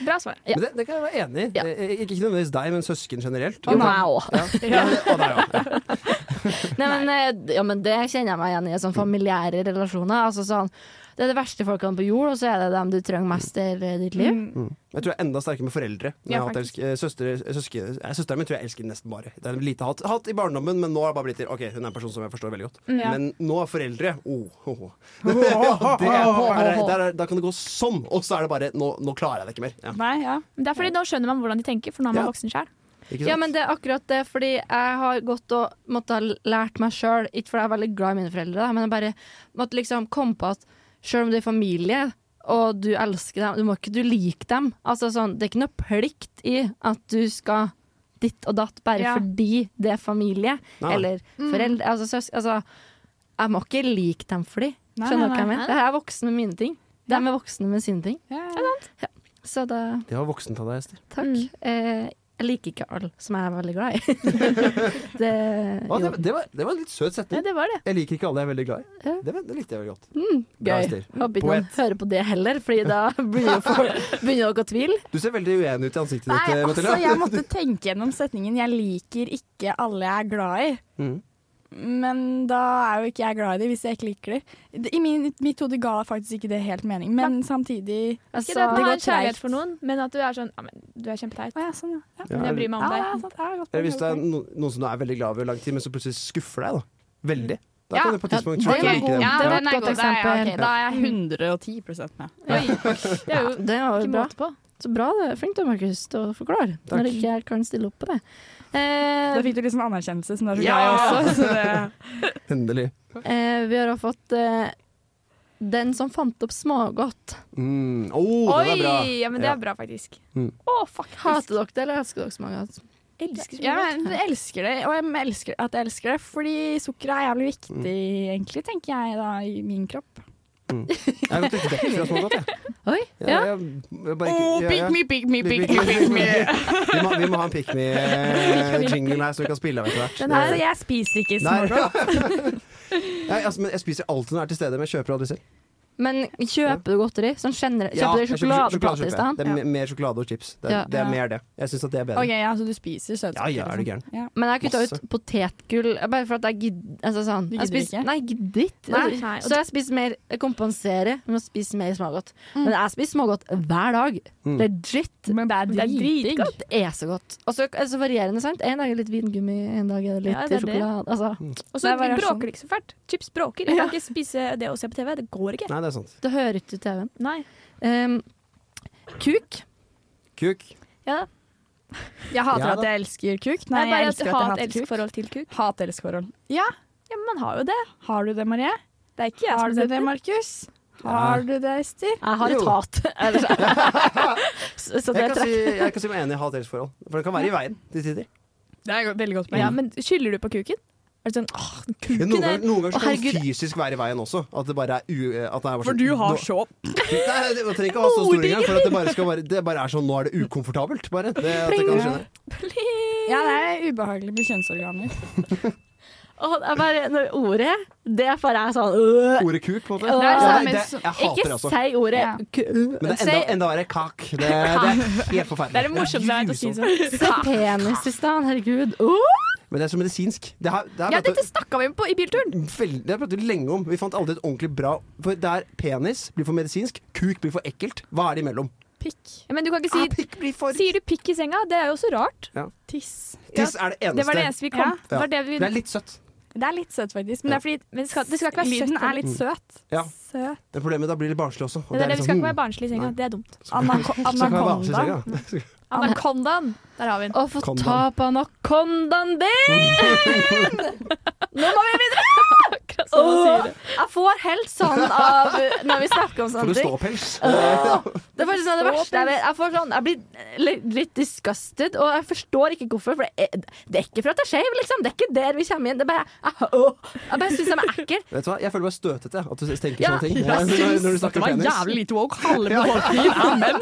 Speaker 4: Bra svar.
Speaker 3: Ja.
Speaker 2: Men det, det kan jeg være enig i.
Speaker 3: Ja.
Speaker 2: Eh, Ikke ikke nødvendigvis deg, men søsken generelt.
Speaker 3: Og meg også.
Speaker 2: Ja, det- og deg også.
Speaker 3: Nei, men, eh, ja, men det kjenner jeg meg igjen i. Sånn familiære relasjoner. Altså, sånn, det er de verste folkene på jord, og så er det dem du trenger mest i eh, ditt liv.
Speaker 4: Mm.
Speaker 2: Mm. Jeg tror jeg er enda sterkere med foreldre.
Speaker 4: Ja,
Speaker 2: Ja, Søstre, søske, eh, søsteren min tror jeg elsker nesten bare. Det er lite hat. Hat i barndommen, men nå har det bare blitt til Ok, hun er en person som jeg forstår veldig godt. Men nå er foreldre oh, oh, oh. Det er, der, er- Da kan det gå sånn, og så er det bare Nå, nå klarer jeg det ikke mer. Ja,
Speaker 5: Nei, ja.
Speaker 4: Men det er fordi nå skjønner man hvordan de tenker, for nå er man
Speaker 2: Ja.
Speaker 4: voksen sjøl.
Speaker 2: ikke sant?
Speaker 3: Ja, men det er akkurat det, fordi jeg har gått og måtte ha lært meg sjøl, ikke fordi jeg er veldig glad i mine foreldre, da, men jeg bare måtte liksom komme på at sjøl om du er familie, og du elsker dem, du må ikke du like dem. Altså sånn, det er ikke noe plikt i at du skal ditt og datt bare
Speaker 4: Ja.
Speaker 3: fordi det er familie,
Speaker 2: Nei.
Speaker 3: eller
Speaker 5: Mm.
Speaker 3: foreldre, altså søsken Altså, jeg må ikke like dem for de.
Speaker 5: Nei,
Speaker 3: Skjønner
Speaker 5: nei,
Speaker 3: du hva jeg
Speaker 5: nei.
Speaker 3: mener? Jeg er voksen med mine ting. De er voksne med sine ting.
Speaker 5: Ja.
Speaker 3: Så da
Speaker 2: Det var voksent av deg, Ester.
Speaker 3: Takk. Eh, jeg liker ikke alle som jeg er veldig glad i. det,
Speaker 2: Å,
Speaker 3: jo,
Speaker 2: det, det, var, det var en litt søt setning.
Speaker 4: Ja, det var det.
Speaker 2: Jeg liker ikke alle jeg er veldig glad i.
Speaker 3: Ja.
Speaker 2: Det, var- det likte jeg veldig godt. Bra,
Speaker 3: gøy.
Speaker 2: Ester.
Speaker 3: Håper ikke noen
Speaker 2: Poet.
Speaker 3: hører på det heller, Fordi da begynner jo folk begynner dere å tvile.
Speaker 2: Du ser veldig uenig ut i ansiktet ditt,
Speaker 5: Nei,
Speaker 2: eh,
Speaker 5: altså,
Speaker 2: Mathilda.
Speaker 5: jeg måtte tenke gjennom setningen 'jeg liker ikke alle jeg er glad i'.
Speaker 2: Mm.
Speaker 5: Men da er jo ikke jeg glad i dem hvis jeg ikke liker dem. I min, mitt hode ga faktisk ikke det helt mening, men samtidig
Speaker 3: Altså,
Speaker 4: Ikke det
Speaker 5: det
Speaker 4: at man
Speaker 5: går
Speaker 4: har kjærlighet
Speaker 5: treigt.
Speaker 4: for noen, men at du er sånn ja, men Du er kjempeteit,
Speaker 5: Å ja, sånn, ja. ja.
Speaker 2: Ja,
Speaker 4: men jeg bryr meg om
Speaker 5: ja,
Speaker 4: deg.
Speaker 5: sant, ja, godt
Speaker 2: Eller
Speaker 5: poeng,
Speaker 2: hvis
Speaker 5: godt
Speaker 2: det er
Speaker 5: poeng.
Speaker 2: no, noen som du er veldig glad over i lang tid, men som plutselig skuffer deg. da Veldig. Da
Speaker 5: Ja,
Speaker 2: kan du på et tidspunkt
Speaker 3: ja,
Speaker 2: slutte
Speaker 3: den
Speaker 2: å
Speaker 3: er
Speaker 2: like
Speaker 3: god.
Speaker 2: dem.
Speaker 3: Ja,
Speaker 2: Ja.
Speaker 3: det var et godt eksempel.
Speaker 5: ok, da er jeg 110 med.
Speaker 4: Det er jo
Speaker 3: det var jo
Speaker 4: ikke
Speaker 3: bra.
Speaker 4: måte på.
Speaker 3: Så bra du er. Flink du er, Markus, til å forklare.
Speaker 2: Takk.
Speaker 3: Når ikke jeg kan stille opp på det. Eh,
Speaker 5: Da fikk du liksom anerkjennelse, som du er så
Speaker 2: Ja!
Speaker 5: glad i også. Så det,
Speaker 2: Endelig.
Speaker 3: eh, vi har også fått eh, den som fant opp smågodt.
Speaker 2: Mm. Oh, den er bra.
Speaker 4: Oi! Ja, men det
Speaker 2: Ja.
Speaker 4: er bra, faktisk.
Speaker 2: Mm.
Speaker 4: Å, fuck.
Speaker 3: Hater dere det, eller elsker dere smågodt? Elsker
Speaker 5: ja, men jeg elsker det, og jeg elsker at jeg elsker det, fordi sukker er jævlig viktig,
Speaker 2: Mm.
Speaker 5: egentlig, tenker jeg da, i min kropp.
Speaker 2: Jeg har gått litt vekk fra smågodt, jeg.
Speaker 3: Oi,
Speaker 2: Jeg-
Speaker 3: ja.
Speaker 2: jeg- jeg bare ikke- jeg- jeg-
Speaker 5: pick me,
Speaker 2: pick me, pick me. Vi må, vi må ha en pick me-jingle her, så vi kan spille av etter hvert.
Speaker 5: Den her, jeg spiser ikke
Speaker 2: Nei.
Speaker 5: smågodt.
Speaker 2: Nei, altså, men jeg spiser alltid når jeg er til stede, men jeg kjøper aldri selv.
Speaker 3: Men kjøper du godteri? Sånn generelt?
Speaker 2: Ja, jeg
Speaker 3: Kjøper du
Speaker 2: kjøper
Speaker 3: sjokoladeplate
Speaker 2: sjokolade-
Speaker 3: i stedet?
Speaker 2: Det er me- mer sjokolade og chips. Det er,
Speaker 3: Ja.
Speaker 2: det er
Speaker 5: Ja.
Speaker 2: mer det. Jeg syns at det er bedre.
Speaker 5: Ok, ja, så du spiser søtsukker?
Speaker 2: Ja, ja, er du
Speaker 5: liksom.
Speaker 2: gæren.
Speaker 5: Ja.
Speaker 3: Men jeg kutta ut
Speaker 2: Masse.
Speaker 3: potetgull eh, bare for at jeg gidder. Altså sånn.
Speaker 5: Du
Speaker 3: jeg
Speaker 5: gidder
Speaker 3: spiser-
Speaker 5: ikke?
Speaker 3: Nei, jeg gidder ikke.
Speaker 4: Nei, nei.
Speaker 3: Så jeg spiser mer Jeg kompenserer med å spise mer smågodt. Men
Speaker 4: Mm.
Speaker 3: jeg spiser smågodt hver dag.
Speaker 2: Mm.
Speaker 3: Legit.
Speaker 5: Men det
Speaker 3: Det er
Speaker 5: er dritdigg.
Speaker 3: dritgodt. Det er så godt. Og så er det så varierende, sant. En dag er det litt vingummi, en dag er det litt
Speaker 4: Ja, det er det.
Speaker 3: sjokolade. Altså,
Speaker 4: Og
Speaker 3: Det
Speaker 4: så
Speaker 3: er variasjon.
Speaker 4: bråker det sånn. ikke så fælt. Chips bråker. Jeg kan ikke spise det og se på TV. Det går ikke.
Speaker 2: Nei, det er sant.
Speaker 3: det hører ikke til TV-en.
Speaker 4: Nei.
Speaker 3: Ehm, kuk.
Speaker 2: Kuk.
Speaker 3: Ja.
Speaker 5: Jeg hater
Speaker 2: Ja da.
Speaker 5: at jeg elsker kuk. Nei,
Speaker 4: Nei,
Speaker 5: jeg
Speaker 4: bare
Speaker 5: elsker
Speaker 4: ha
Speaker 5: at
Speaker 4: et
Speaker 5: jeg hater kuk.
Speaker 4: elsk-forhold til kuk.
Speaker 5: Hat-elsk-forhold. Ja. ja, men man har jo det. Har du det, Marie?
Speaker 4: Det er ikke jeg
Speaker 5: Har
Speaker 4: som
Speaker 5: du det,
Speaker 4: setter
Speaker 5: Markus? Har du det, Ester?
Speaker 3: Jeg har
Speaker 2: Jo.
Speaker 3: et hat. Eller så- så, så
Speaker 2: Jeg
Speaker 3: det
Speaker 2: kan,
Speaker 3: trekker
Speaker 2: si, jeg kan si meg enig i hat-elsk-forhold. For det kan være i veien til tider.
Speaker 5: Det er veldig godt
Speaker 4: Men ja, men skylder du på kuken? Er det sånn åh, kuken
Speaker 2: Men Noen ganger,
Speaker 4: er
Speaker 2: noen ganger
Speaker 3: Å,
Speaker 2: skal
Speaker 3: herregud.
Speaker 2: den fysisk være i veien også. At det bare er u... At det er bare sånn- nå-
Speaker 5: så
Speaker 2: Nei, det man trenger ikke å ha så stor engang, for at det bare, skal være, det bare er sånn Nå er det ukomfortabelt, bare. Det, at det kan skjønne.
Speaker 5: Ja, det er ubehagelig med kjønnsorganer.
Speaker 3: Åh, det er bare, når ordet, det er bare jeg sånn øh.
Speaker 2: Ordet kuk, på en måte.
Speaker 3: Ja,
Speaker 5: det er
Speaker 2: Ja,
Speaker 5: samme
Speaker 2: det,
Speaker 5: som-
Speaker 2: jeg hater det
Speaker 3: Ikke
Speaker 2: også.
Speaker 3: si ordet
Speaker 5: Ja.
Speaker 3: k-
Speaker 2: Men det er
Speaker 3: Si
Speaker 2: enda, enda verre kak. Det, det er helt forferdelig.
Speaker 4: Det er det morsomste jeg vet å si
Speaker 2: grusomt.
Speaker 4: sånn.
Speaker 3: si penis i stedet, herregud. Åh!
Speaker 2: Men det er så medisinsk. Det her, det her
Speaker 4: Ja,
Speaker 2: prater-
Speaker 4: dette snakka vi om på, i bilturen!
Speaker 2: Vel- Det har vi pratet lenge om. Vi fant aldri et ordentlig bra For der penis blir for medisinsk, kuk blir for ekkelt. Hva er det imellom?
Speaker 5: Pikk.
Speaker 4: Ja, men du kan ikke
Speaker 2: Ah,
Speaker 4: si
Speaker 2: pikk blir for
Speaker 4: Sier du pikk i senga? Det er jo så rart.
Speaker 5: Tiss.
Speaker 2: Tiss er det eneste.
Speaker 4: Det var det eneste vi
Speaker 5: Ja.
Speaker 4: kom det var det vi,
Speaker 2: Det er litt søtt.
Speaker 5: Det er litt søtt, faktisk.
Speaker 2: Ja.
Speaker 5: Men det er fordi
Speaker 4: Men det skal, det skal ikke være søtt.
Speaker 5: lyden er litt
Speaker 2: Mm.
Speaker 5: søt.
Speaker 2: Ja.
Speaker 5: Søt.
Speaker 2: Det er problemet da blir det barnslig også. og
Speaker 4: Det er det,
Speaker 2: litt
Speaker 4: vi skal
Speaker 2: sånn,
Speaker 4: ikke
Speaker 2: mm,
Speaker 4: være barnslig i senga. Det er dumt.
Speaker 5: Anako
Speaker 2: skal ikke være barnslig,
Speaker 5: anakonda.
Speaker 2: sier jeg, ja.
Speaker 4: Anakondaen! Der har vi den.
Speaker 3: Å få
Speaker 2: Kondom.
Speaker 3: ta på anakondaen din! Nå må vi videre! Åh, jeg får helt sånn av når vi snakker om
Speaker 2: For
Speaker 3: sånne
Speaker 2: du
Speaker 3: ting.
Speaker 2: ståpels.
Speaker 3: Åh, Det er faktisk noe av det verste jeg vet. Jeg, får sånn, jeg blir li- litt disgusted, og jeg forstår ikke hvorfor. For det er, det er ikke for at jeg er skeiv, liksom. Det er ikke der vi kommer inn. Det er bare, jeg, åh, jeg bare syns de er ekle.
Speaker 2: Vet du hva? Jeg føler meg støtete at du tenker
Speaker 3: Ja,
Speaker 2: sånne ting.
Speaker 3: jeg
Speaker 2: Når-
Speaker 3: syns
Speaker 2: når du snakker penis.
Speaker 5: lite woke. Halve befolkningen er menn.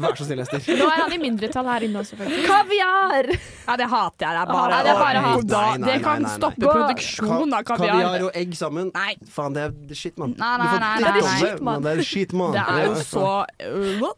Speaker 2: Vær så snill, Ester.
Speaker 4: Nå er han i mindretall her inne også, faktisk.
Speaker 3: Kaviar!
Speaker 5: Ja, det hater jeg. Det
Speaker 3: bare-
Speaker 5: er bare, ja, det er bare
Speaker 2: Nei,
Speaker 5: hat.
Speaker 2: nei, nei,
Speaker 5: det kan
Speaker 2: nei, nei.
Speaker 5: stoppe
Speaker 3: Gå-
Speaker 5: produksjon av
Speaker 2: Kaviar
Speaker 5: kaviar.
Speaker 2: og egg sammen.
Speaker 5: Nei.
Speaker 2: Faen, det er shit, mann.
Speaker 5: Nei,
Speaker 2: Du
Speaker 5: nei,
Speaker 2: får
Speaker 5: nei,
Speaker 2: dritt
Speaker 5: nei,
Speaker 2: om
Speaker 5: nei.
Speaker 2: det, men Det er shit, mann.
Speaker 5: Det er jo
Speaker 2: Ja.
Speaker 5: så øh,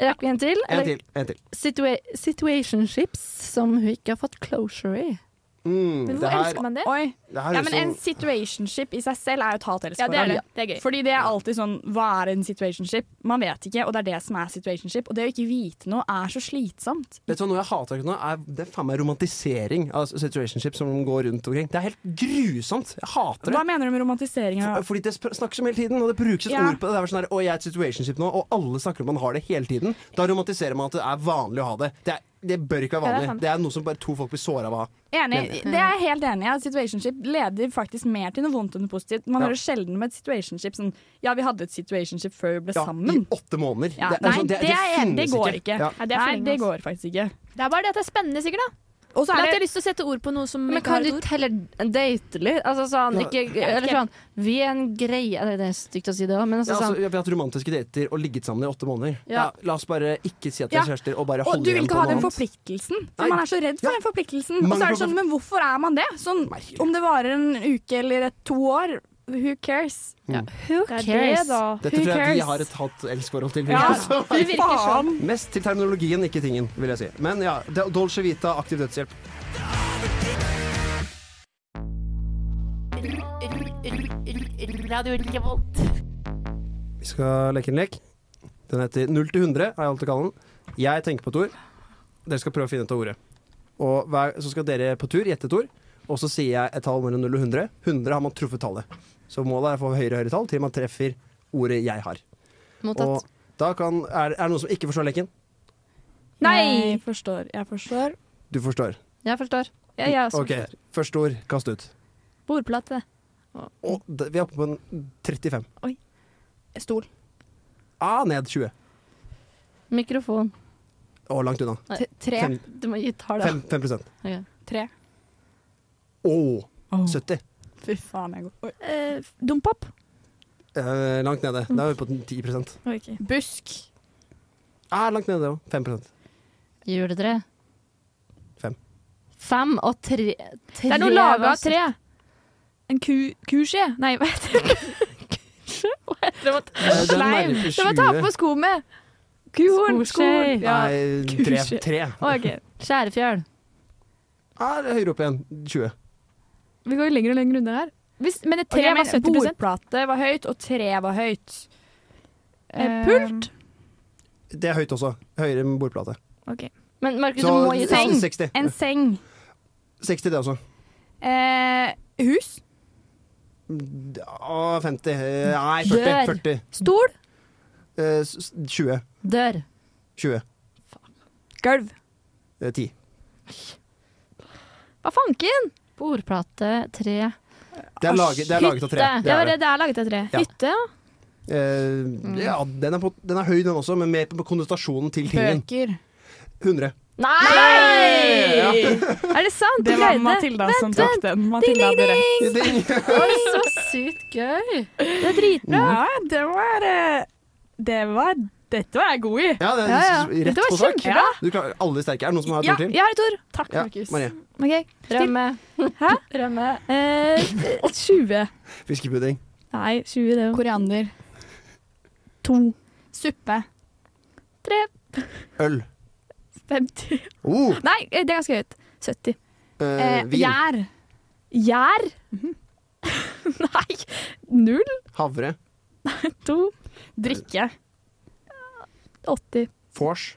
Speaker 3: Rakk vi en til?
Speaker 2: En
Speaker 3: Eller
Speaker 2: til. En til.
Speaker 3: situa situationships, som hun ikke har fått closure i.
Speaker 2: Mm,
Speaker 4: Men
Speaker 2: det
Speaker 4: hvor
Speaker 2: her,
Speaker 4: elsker man det?
Speaker 5: Oi.
Speaker 2: det her
Speaker 5: Ja,
Speaker 2: er
Speaker 5: men
Speaker 2: så-
Speaker 5: en situationship i seg selv er jo et
Speaker 4: Ja, det er
Speaker 5: hat-elsk-forhold.
Speaker 4: det. Det er gøy.
Speaker 5: Fordi det er alltid sånn Hva er en situationship? Man vet ikke, og det er det som er situationship. Og det å ikke vite noe er så slitsomt.
Speaker 2: Vet du hva, Noe jeg hater akkurat nå, er det er faen meg romantisering av situationships som går rundt omkring. Det er helt grusomt. Jeg hater det.
Speaker 5: Hva mener du med romantisering?
Speaker 2: For-
Speaker 5: av-
Speaker 2: Fordi det sp- snakkes om hele tiden, og det brukes et
Speaker 5: Ja.
Speaker 2: ord på det. Det er sånn der, å, jeg er et situationship nå, og alle snakker om man har det hele tiden. Da romantiserer man at det er vanlig å ha det. Det, er, det bør ikke være
Speaker 4: Ja, det
Speaker 2: vanlig.
Speaker 4: er sant.
Speaker 2: det, er noe som bare to folk blir såra av å ha.
Speaker 5: Enig. Det er jeg helt enig i. at Situationship leder faktisk mer til noe vondt enn noe positivt. Man
Speaker 2: Ja.
Speaker 5: hører sjelden om et situationship sånn Ja, vi hadde et situationship før vi ble
Speaker 2: Ja, I
Speaker 5: sammen.
Speaker 2: åtte måneder.
Speaker 5: Ja.
Speaker 2: Det er
Speaker 5: Nei,
Speaker 2: sånn,
Speaker 5: det, er jeg enig i. Det
Speaker 2: finnes
Speaker 5: går ikke.
Speaker 2: Ja.
Speaker 4: Nei, det er for
Speaker 5: Nei,
Speaker 4: lenge,
Speaker 5: det
Speaker 4: altså.
Speaker 5: går faktisk ikke.
Speaker 4: Det er bare det at det er spennende, sikkert. da.
Speaker 5: Og så er
Speaker 4: Eller at jeg
Speaker 5: det
Speaker 4: har lyst til å sette ord på noe som
Speaker 3: Men
Speaker 4: ikke
Speaker 3: kan
Speaker 4: har
Speaker 3: du
Speaker 4: et ord.
Speaker 3: heller date litt? Altså sånn,
Speaker 2: Ja.
Speaker 3: ikke, eller sånn Vi er en greie eller Det er stygt å si det òg, men
Speaker 2: Ja,
Speaker 3: altså
Speaker 2: altså,
Speaker 3: sånn
Speaker 2: vi har hatt romantiske dater og ligget sammen i åtte måneder. Ja.
Speaker 3: Ja.
Speaker 2: la oss bare ikke si at vi
Speaker 5: Ja.
Speaker 2: er kjærester, og bare
Speaker 5: Og du
Speaker 2: holde
Speaker 5: vil
Speaker 2: igjen
Speaker 5: ikke
Speaker 2: på
Speaker 5: ha
Speaker 2: noe
Speaker 5: den
Speaker 2: annet.
Speaker 5: forpliktelsen.
Speaker 2: Nei.
Speaker 5: For man er så redd for
Speaker 2: Ja.
Speaker 5: den forpliktelsen.
Speaker 2: Mange
Speaker 5: Og så er det
Speaker 2: får-
Speaker 5: sånn, men hvorfor er man det? Sånn,
Speaker 2: Merkelig.
Speaker 5: om det varer en uke eller et, to år, who cares?
Speaker 3: Who
Speaker 4: Det er det,
Speaker 3: cares?
Speaker 4: da.
Speaker 2: Dette
Speaker 5: Who
Speaker 2: tror jeg vi
Speaker 5: cares?
Speaker 2: har et hat-elsk-forhold til.
Speaker 5: Ja,
Speaker 2: Altså.
Speaker 5: fy
Speaker 4: virker sånn.
Speaker 5: faen.
Speaker 2: Mest til terminologien, ikke tingen, vil jeg si. Men ja, Do- Dolce Vita, aktiv dødshjelp.
Speaker 6: Radio Revolt.
Speaker 2: Vi skal leke en lek. Den heter 0 til 100, har jeg alltid kalt den. Jeg tenker på et ord. Dere skal prøve å finne ut av ordet. Og hver, så skal dere på tur gjette et ord, og så sier jeg et tall mellom 0 og 100. 100 har man truffet tallet. Så målet er å få høyere og høyere tall til man treffer ordet jeg har.
Speaker 3: Mottatt.
Speaker 2: Og da kan, er, er det noen som ikke forstår leken?
Speaker 4: Nei!
Speaker 5: Jeg forstår. Jeg forstår.
Speaker 2: Du forstår.
Speaker 3: Jeg forstår.
Speaker 4: Ja, ja, altså.
Speaker 2: OK, første ord, kast ut.
Speaker 4: Bordplate.
Speaker 2: Og det, vi er oppe på en 35.
Speaker 5: Stol.
Speaker 2: Ah, ned 20.
Speaker 3: Mikrofon.
Speaker 2: Å, langt unna.
Speaker 5: T- Tre.
Speaker 2: Fem,
Speaker 3: Du må gi tall, da.
Speaker 2: fem, fem prosent.
Speaker 3: Ok.
Speaker 5: Tre.
Speaker 2: Å, 70.
Speaker 5: Fy faen, jeg går. Oi.
Speaker 4: Eh, Dompop.
Speaker 2: Eh, langt nede. Da er vi på 10
Speaker 5: Busk.
Speaker 2: ah, Langt nede òg. 5
Speaker 3: Juletre.
Speaker 2: Fem.
Speaker 3: Fem og tre
Speaker 4: Det er noe laga av tre. En ku... Kuskje? Nei, hva heter det?
Speaker 2: Eh, den
Speaker 4: Sleim.
Speaker 2: nærmer
Speaker 4: Det var ta på
Speaker 2: 20.
Speaker 4: sko med. Kuhorn.
Speaker 3: Skoskje.
Speaker 4: Skohorn. Ja.
Speaker 2: Nei, 3.
Speaker 4: Kuskje. Ok.
Speaker 3: Skjærefjøl.
Speaker 2: Ah, det er høyere opp igjen. 20.
Speaker 4: Vi går jo lenger og lenger unna her. Hvis, men et
Speaker 5: Og
Speaker 4: tre
Speaker 5: jeg
Speaker 4: var
Speaker 5: mener,
Speaker 4: 70
Speaker 5: Bordplate var høyt, og tre var høyt.
Speaker 4: Eh, Pult.
Speaker 2: Det er høyt også. Høyere enn bordplate.
Speaker 3: Men Markus, du
Speaker 2: Så
Speaker 3: må gi tall.
Speaker 2: 60.
Speaker 5: En seng.
Speaker 2: 60 det altså. også.
Speaker 5: Eh, hus.
Speaker 2: Ah, 50. Eh, Nei, 40.
Speaker 3: Dør.
Speaker 2: 40.
Speaker 3: Stol.
Speaker 2: Eh, s- s- 20.
Speaker 3: Dør.
Speaker 2: 20.
Speaker 4: Gulv.
Speaker 2: Eh, Ti.
Speaker 4: Hva fanken?
Speaker 3: Bordplate, tre
Speaker 2: Det er laget, det er laget av tre.
Speaker 3: Hytte.
Speaker 2: Det er det.
Speaker 4: det er laget av tre.
Speaker 2: Ja.
Speaker 4: Hytte, ja.
Speaker 2: Eh, ja,
Speaker 4: Mm.
Speaker 2: den er, på, den er høy, den også, men mer på konnotasjonen til tingen.
Speaker 5: Bøker.
Speaker 2: 100.
Speaker 3: Nei!
Speaker 4: Er det sant?
Speaker 5: Det
Speaker 4: Du
Speaker 5: var
Speaker 4: greide
Speaker 5: Matilda som tok den. Matilda hadde rett.
Speaker 2: Ding!
Speaker 3: Oi, så sykt gøy!
Speaker 4: Det er dritbra.
Speaker 5: Ja,
Speaker 2: Mhm.
Speaker 5: det var, eh, det var Dette var jeg god i.
Speaker 2: Ja, det er
Speaker 4: Ja, ja.
Speaker 2: rett
Speaker 4: Det var
Speaker 2: på sak.
Speaker 4: kjempebra.
Speaker 2: Du klarer alle sterke. Er det noen som har et
Speaker 4: Ja,
Speaker 2: ord til?
Speaker 4: jeg har et ord.
Speaker 5: Takk, Markus.
Speaker 2: Marie.
Speaker 4: Ok, still.
Speaker 3: Rømme.
Speaker 4: Hæ?
Speaker 3: Rømme.
Speaker 4: Eh, 20.
Speaker 2: Fiskepudding.
Speaker 4: Nei, 20 det er jo
Speaker 5: Koriander.
Speaker 4: to.
Speaker 5: Suppe.
Speaker 2: Øl.
Speaker 4: 50.
Speaker 2: Oh,
Speaker 4: Nei, eh, det er ganske høyt. 70.
Speaker 2: eh, vin.
Speaker 5: Gjær.
Speaker 4: Gjær. Nei. Null.
Speaker 2: Havre.
Speaker 4: To.
Speaker 5: Drikke.
Speaker 4: 80.
Speaker 2: Vors.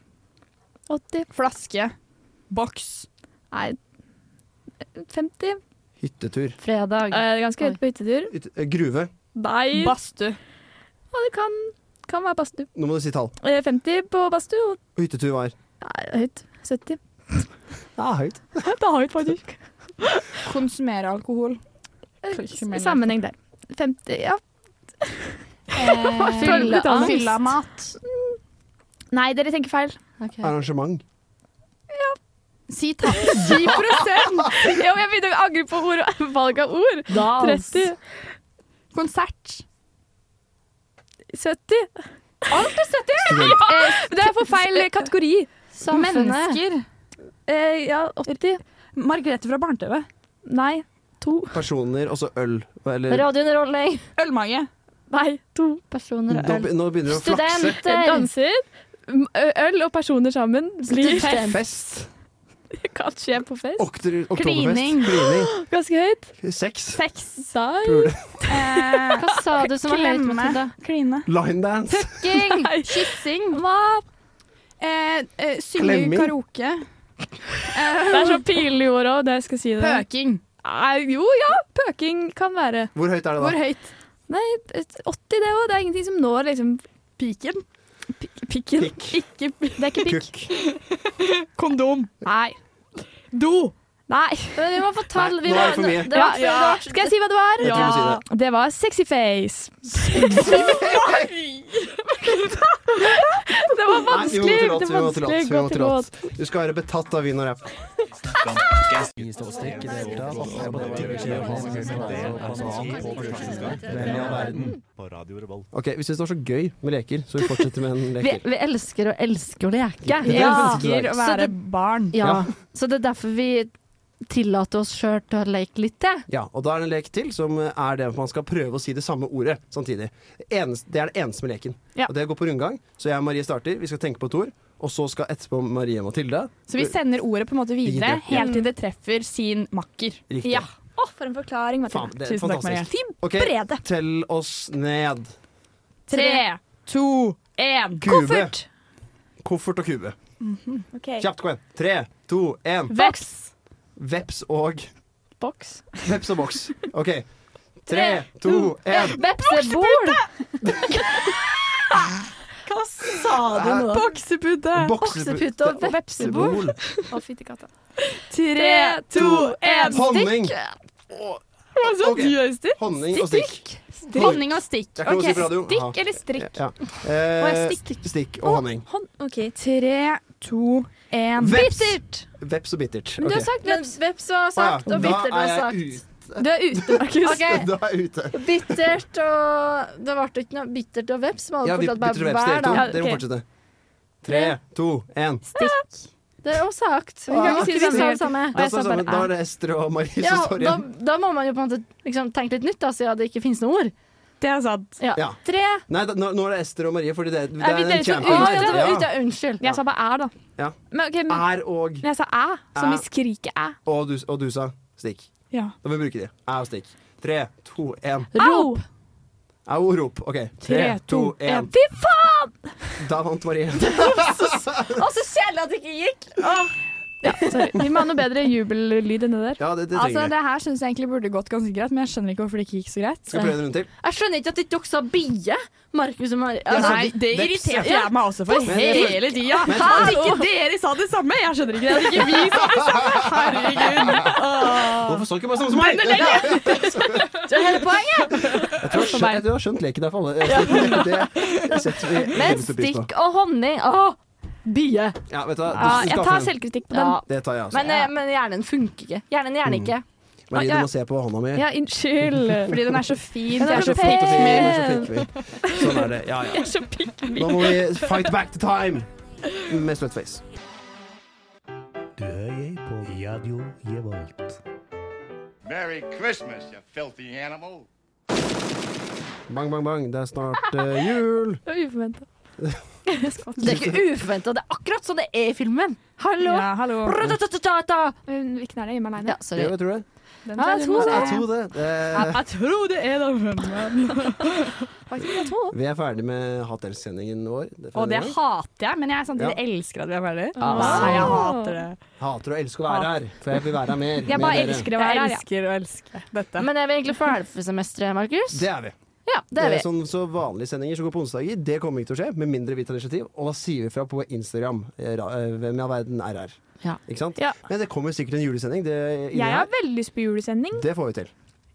Speaker 4: 80.
Speaker 5: Flaske. Boks.
Speaker 4: Nei. 50.
Speaker 2: Hyttetur.
Speaker 3: Fredag.
Speaker 4: Eh, ganske høyt på hyttetur.
Speaker 2: Hytte, eh, gruve.
Speaker 4: Nei.
Speaker 5: Badstue.
Speaker 4: Ja, det kan, kan være badstue.
Speaker 2: Nå må du si tall.
Speaker 4: Eh, 50 på badstue og
Speaker 2: Og hyttetur var
Speaker 4: Nei, det er høyt. 70.
Speaker 2: Ja, høyt.
Speaker 4: Det er høyt, faktisk.
Speaker 5: Konsumere alkohol. Konsumere.
Speaker 4: Sammenheng der. 50, ja.
Speaker 5: Eh,
Speaker 3: Fylle
Speaker 4: Fylla-
Speaker 3: angst.
Speaker 5: Fylle av mat.
Speaker 4: Nei, dere tenker feil.
Speaker 3: Ok.
Speaker 2: Arrangement.
Speaker 5: Si takk.
Speaker 4: 10 ja, men Jeg begynner å angre på ord, og valg av ord.
Speaker 3: Dans.
Speaker 4: 30.
Speaker 5: Konsert.
Speaker 4: 70. Alt er 70!
Speaker 2: Student.
Speaker 4: Eh, det er for feil kategori.
Speaker 3: Samfunnet.
Speaker 5: Mennesker.
Speaker 4: Eh, ja, 80.
Speaker 5: Margrethe fra Barne-TV.
Speaker 4: Nei. To.
Speaker 2: Personer, og så øl. Eller
Speaker 3: Radiounderholdning.
Speaker 5: Ølmage.
Speaker 4: Nei, to.
Speaker 3: Personer og
Speaker 2: nå,
Speaker 3: øl.
Speaker 2: nå begynner du å flakse.
Speaker 3: Studenter.
Speaker 4: Danser. M- ø- Øl og personer sammen blir
Speaker 3: Student.
Speaker 2: Fest.
Speaker 4: Det kan skje på fest.
Speaker 2: Okter, oktoberfest.
Speaker 5: Klining.
Speaker 2: Klining.
Speaker 4: Ganske høyt.
Speaker 2: Sex.
Speaker 4: Sex. Nei.
Speaker 2: Pule.
Speaker 5: Eh,
Speaker 3: Hva sa du som var høyt,
Speaker 5: Klemme.
Speaker 3: Matilda?
Speaker 5: kline.
Speaker 2: Linedance.
Speaker 3: Fucking!
Speaker 5: Kyssing. Eh, eh, synge
Speaker 2: Klemming.
Speaker 5: karaoke. Eh,
Speaker 4: Det er så pinlig ord òg, det jeg skal si det.
Speaker 5: Pøking.
Speaker 4: Nei, jo, ja, pøking kan være.
Speaker 2: Hvor høyt er det
Speaker 5: Hvor
Speaker 2: da?
Speaker 5: høyt?
Speaker 4: Nei, et- 80 det òg. Det er ingenting som når liksom piken. Pikken. Ikke, det er ikke pikk.
Speaker 2: Kukk.
Speaker 5: Kondom.
Speaker 4: Nei.
Speaker 5: Do.
Speaker 4: Nei.
Speaker 3: Men vi må få tall. Vi
Speaker 2: nå
Speaker 3: må,
Speaker 2: er det for mye.
Speaker 3: det var-
Speaker 5: Ja,
Speaker 4: Skal jeg si hva det var?
Speaker 2: Jeg tror du må si
Speaker 4: det. var sexy face. det var
Speaker 2: Nei, vi må
Speaker 4: vanskelig.
Speaker 2: til låt,
Speaker 4: det
Speaker 2: vi
Speaker 4: var
Speaker 2: må til låt, vi
Speaker 4: vanskelig.
Speaker 2: må
Speaker 4: Gå til
Speaker 2: til låt.
Speaker 4: låt.
Speaker 2: Du skal være betatt av vin og rapp.
Speaker 7: sånn
Speaker 2: sånn
Speaker 8: På Radio Revolt.
Speaker 2: Ok, Vi syns det var så gøy med leker, så vi fortsetter med en
Speaker 3: vi,
Speaker 2: leker.
Speaker 3: vi elsker å elske å leke.
Speaker 5: Jeg
Speaker 2: Ja.
Speaker 5: elsker å være barn.
Speaker 3: Ja. Så det er derfor vi tillater oss sjøl til å leke litt, jeg.
Speaker 2: Ja, og da er det en lek til, som er det at man skal prøve å si det samme ordet samtidig. Enest, det er det eneste med leken.
Speaker 5: Ja.
Speaker 2: Og det går på rundgang, så jeg og Marie starter, vi skal tenke på et ord, og så skal etterpå Marie og Mathilde.
Speaker 5: Så vi sender ordet på en måte videre
Speaker 2: Videre,
Speaker 5: helt til det treffer sin makker.
Speaker 2: Riktig.
Speaker 5: Ja.
Speaker 4: Å, for en forklaring. Mathilde.
Speaker 2: Faen, det er
Speaker 5: Tusen takk, Maria.
Speaker 2: fantastisk. Ok,
Speaker 4: Brede.
Speaker 2: tell oss ned.
Speaker 5: Tre, to, én.
Speaker 2: Kube.
Speaker 4: Koffert.
Speaker 2: Koffert og kube.
Speaker 4: Ok.
Speaker 2: Kjapt, kom igjen. Tre, to, én.
Speaker 5: Veps.
Speaker 2: Veps og
Speaker 4: Boks.
Speaker 2: Veps og boks. OK. Tre, to, én.
Speaker 3: Vepsebol!
Speaker 5: Hva sa
Speaker 2: du nå?
Speaker 5: Boksepute.
Speaker 3: Boksepute og vepsebol.
Speaker 4: Å, fytti katta.
Speaker 5: Tre, to, én.
Speaker 2: Honning.
Speaker 5: Hva
Speaker 4: Sånn.
Speaker 5: sa
Speaker 2: Ok.
Speaker 5: du, Øystein?
Speaker 2: Honning og stikk.
Speaker 5: Honning og stikk.
Speaker 2: Det er ikke lov å si
Speaker 5: Ok,
Speaker 2: på radio. Aha.
Speaker 5: Stikk eller strikk?
Speaker 2: Ja. Eh,
Speaker 5: Og
Speaker 2: stikk. og honning.
Speaker 5: Hånd, OK. Tre, to, én.
Speaker 2: Veps.
Speaker 4: Bittert.
Speaker 2: Veps og bittert.
Speaker 4: Du har
Speaker 2: Ok.
Speaker 4: sagt veps.
Speaker 3: Veps og
Speaker 2: Å ja,
Speaker 3: sagt, og
Speaker 2: Ah,
Speaker 3: bittert
Speaker 2: da
Speaker 3: og
Speaker 2: er
Speaker 3: sagt.
Speaker 2: jeg ute.
Speaker 4: Du er ute, Markus.
Speaker 3: Ok.
Speaker 2: Da er jeg ute.
Speaker 3: Bittert og Det ble ikke noe bittert og veps. Man
Speaker 2: Ja,
Speaker 3: hadde
Speaker 2: vi
Speaker 3: fortsatt
Speaker 2: bytter
Speaker 3: bare
Speaker 2: veps, dere
Speaker 3: hver,
Speaker 2: to.
Speaker 3: da.
Speaker 4: Ja,
Speaker 2: Dere må
Speaker 4: ok.
Speaker 2: fortsette. Tre, to, én.
Speaker 3: Det er jo sagt. Vi kan
Speaker 2: Ah,
Speaker 3: ikke si det samme. samme.
Speaker 2: Da
Speaker 4: sånn
Speaker 2: står det sammen. Da er det Ester og Marie som
Speaker 3: Ja,
Speaker 2: står
Speaker 3: da,
Speaker 2: igjen.
Speaker 3: da må man jo på en måte liksom, tenke litt nytt, da, siden det ikke finnes noe ord.
Speaker 5: Det er sant.
Speaker 3: Ja.
Speaker 2: Ja.
Speaker 3: Tre
Speaker 2: Nei, da, nå, nå er det Ester og Marie, fordi det, det
Speaker 4: vi
Speaker 2: er
Speaker 4: dere
Speaker 2: en
Speaker 3: Å,
Speaker 4: to
Speaker 2: champion
Speaker 4: ut,
Speaker 3: det
Speaker 2: her.
Speaker 3: var
Speaker 2: Ja.
Speaker 3: ute! Unnskyld.
Speaker 4: Jeg sa bare æ, da.
Speaker 2: Ja.
Speaker 4: Men, ok, men,
Speaker 2: Er og
Speaker 4: men jeg sa æ, som
Speaker 2: Æ.
Speaker 4: i skrike æ.
Speaker 2: og du, og du sa stikk.
Speaker 5: Ja.
Speaker 2: Da må vi bruke de. Er og stikk. Tre, to, én.
Speaker 4: Au!
Speaker 2: Au, rop. OK. Tre, to, én.
Speaker 4: Fy faen!
Speaker 2: Da vant Marie.
Speaker 3: Å, så kjedelig at det ikke gikk!
Speaker 4: Ja, sorry. Vi må ha noe bedre jubellyd enn det der.
Speaker 2: Ja, det, det
Speaker 5: Altså,
Speaker 2: trenger vi.
Speaker 5: det her syns jeg egentlig burde gått ganske greit, men jeg skjønner ikke hvorfor det ikke gikk så greit.
Speaker 2: Skal vi prøve en runde til?
Speaker 3: Jeg skjønner ikke at ikke dere sa bie. Markus og Mari.
Speaker 2: Ja,
Speaker 3: Altså,
Speaker 2: nei,
Speaker 5: det
Speaker 2: irriterte
Speaker 3: jeg
Speaker 5: meg også
Speaker 3: for
Speaker 2: hele
Speaker 5: tida.
Speaker 2: Men- At
Speaker 5: ikke dere sa det samme! Jeg skjønner ikke det. At ikke vi sa det samme! Herregud.
Speaker 2: Hvorfor står ikke bare sånn som meg? Jeg
Speaker 3: det er hele poenget.
Speaker 2: tror jeg skjønner- jeg tror jeg har skjønt leken der for alle. Det, det, det setter vi
Speaker 3: Men
Speaker 2: kjempestor pris på.
Speaker 3: stikk og honning. Åh, bie.
Speaker 2: Ja, vet du hva. Du,
Speaker 4: Ja,
Speaker 2: du
Speaker 4: jeg
Speaker 2: skal
Speaker 4: tar
Speaker 2: få den.
Speaker 4: selvkritikk på den.
Speaker 3: Ja.
Speaker 2: Det tar jeg, altså.
Speaker 3: Men, eh, men hjernen funker ikke. Hjernen gjerne
Speaker 2: Mm.
Speaker 3: ikke.
Speaker 2: Marie,
Speaker 4: ja.
Speaker 2: du må se på hånda mi.
Speaker 4: Ja, unnskyld.
Speaker 5: Fordi den er så fin.
Speaker 4: Den
Speaker 5: så jeg
Speaker 4: er
Speaker 5: er så
Speaker 4: så
Speaker 5: flink.
Speaker 2: Flink og fin,
Speaker 4: pen.
Speaker 2: og så flink og fin. Sånn er det. Ja, ja.
Speaker 4: Så pikk min.
Speaker 2: Nå må vi fight back to time med slutface.
Speaker 8: Du hører på Radio Revolt.
Speaker 9: Merry Christmas, you filthy animal.
Speaker 2: Bang, bang, bang. Det er snart eh, jul.
Speaker 4: Det var uforventa.
Speaker 3: Det er ikke uforventa. Det er akkurat sånn det er i filmen. Hallo!
Speaker 5: Ja, hallo.
Speaker 3: Ratatatata.
Speaker 4: Men Hvilken er det? Hjemme aleine?
Speaker 3: Ja, sorry.
Speaker 2: Jo, jeg tror det.
Speaker 5: Den
Speaker 3: Ja,
Speaker 5: tar
Speaker 3: jeg
Speaker 5: du
Speaker 3: tror
Speaker 5: med
Speaker 3: det.
Speaker 5: deg.
Speaker 2: Jeg tror det. Eh,
Speaker 5: Jeg tror det er den.
Speaker 2: vi er ferdig med Hat-elsk-sendingen vår. Det er
Speaker 5: Og det
Speaker 2: ferdig med.
Speaker 5: hater jeg, men jeg samtidig
Speaker 2: Ja.
Speaker 5: elsker at vi er ferdig.
Speaker 4: Ah.
Speaker 5: Nei, jeg hater det.
Speaker 2: Hater å elske å være her, for jeg vil være her mer.
Speaker 4: Jeg
Speaker 2: med
Speaker 4: bare
Speaker 2: dere.
Speaker 4: elsker å
Speaker 5: Jeg
Speaker 4: være her. ja.
Speaker 5: elsker å elske dette.
Speaker 3: Men er vi egentlig ferdig for semesteret, Markus?
Speaker 2: Det er vi.
Speaker 3: Ja, det er vi.
Speaker 2: sånn, så Vanlige sendinger som går på onsdager, det kommer ikke til å skje, med mindre vi tar initiativ. Og da sier vi fra på Instagram. eh, ra- eh, Hvem i all verden er her?
Speaker 3: Ja.
Speaker 2: Ikke sant?
Speaker 4: Ja.
Speaker 2: Men det kommer sikkert en julesending. Det, inni
Speaker 4: Jeg
Speaker 2: her.
Speaker 4: har veldig lyst på julesending.
Speaker 2: det får vi til.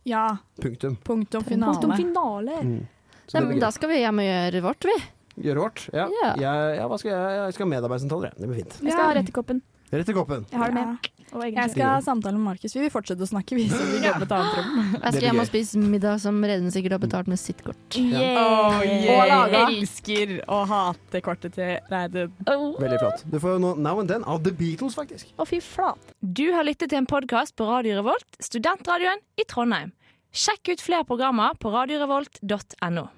Speaker 5: Ja.
Speaker 2: Punktum.
Speaker 5: Punktum
Speaker 4: Punktum
Speaker 5: finale.
Speaker 4: finale.
Speaker 2: Så
Speaker 3: Nei,
Speaker 2: det blir
Speaker 3: men
Speaker 2: gøy.
Speaker 3: da skal vi hjem og gjøre vårt, vi.
Speaker 2: Gjøre vårt. Ja.
Speaker 3: Ja.
Speaker 2: Jeg, ja, hva skal jeg, jeg skal ha medarbeidersentraler, jeg. Det blir fint.
Speaker 4: Jeg skal
Speaker 5: Ja.
Speaker 4: ha rett i koppen.
Speaker 2: Rett i koppen.
Speaker 4: Jeg har det med. Og
Speaker 5: Jeg
Speaker 4: egentlig
Speaker 5: skal ha samtale med Markus. Vi vil fortsette å snakke, vi. Så vi går på et annet rom.
Speaker 3: Jeg
Speaker 2: Det
Speaker 3: skal
Speaker 2: blir
Speaker 3: hjem
Speaker 2: gøy.
Speaker 3: og spise middag som Redden sikkert har betalt med sitt kort.
Speaker 5: Oh,
Speaker 4: Eh,
Speaker 3: Og laga.
Speaker 5: Jeg elsker å hate kortet til Reidun.
Speaker 2: Veldig flott. Du får jo nå Now and Then av The Beatles, faktisk.
Speaker 10: Å, fy flate. Du har lyttet til en podkast på Radio Revolt, studentradioen i Trondheim. Sjekk ut flere programmer på radiorevolt.no.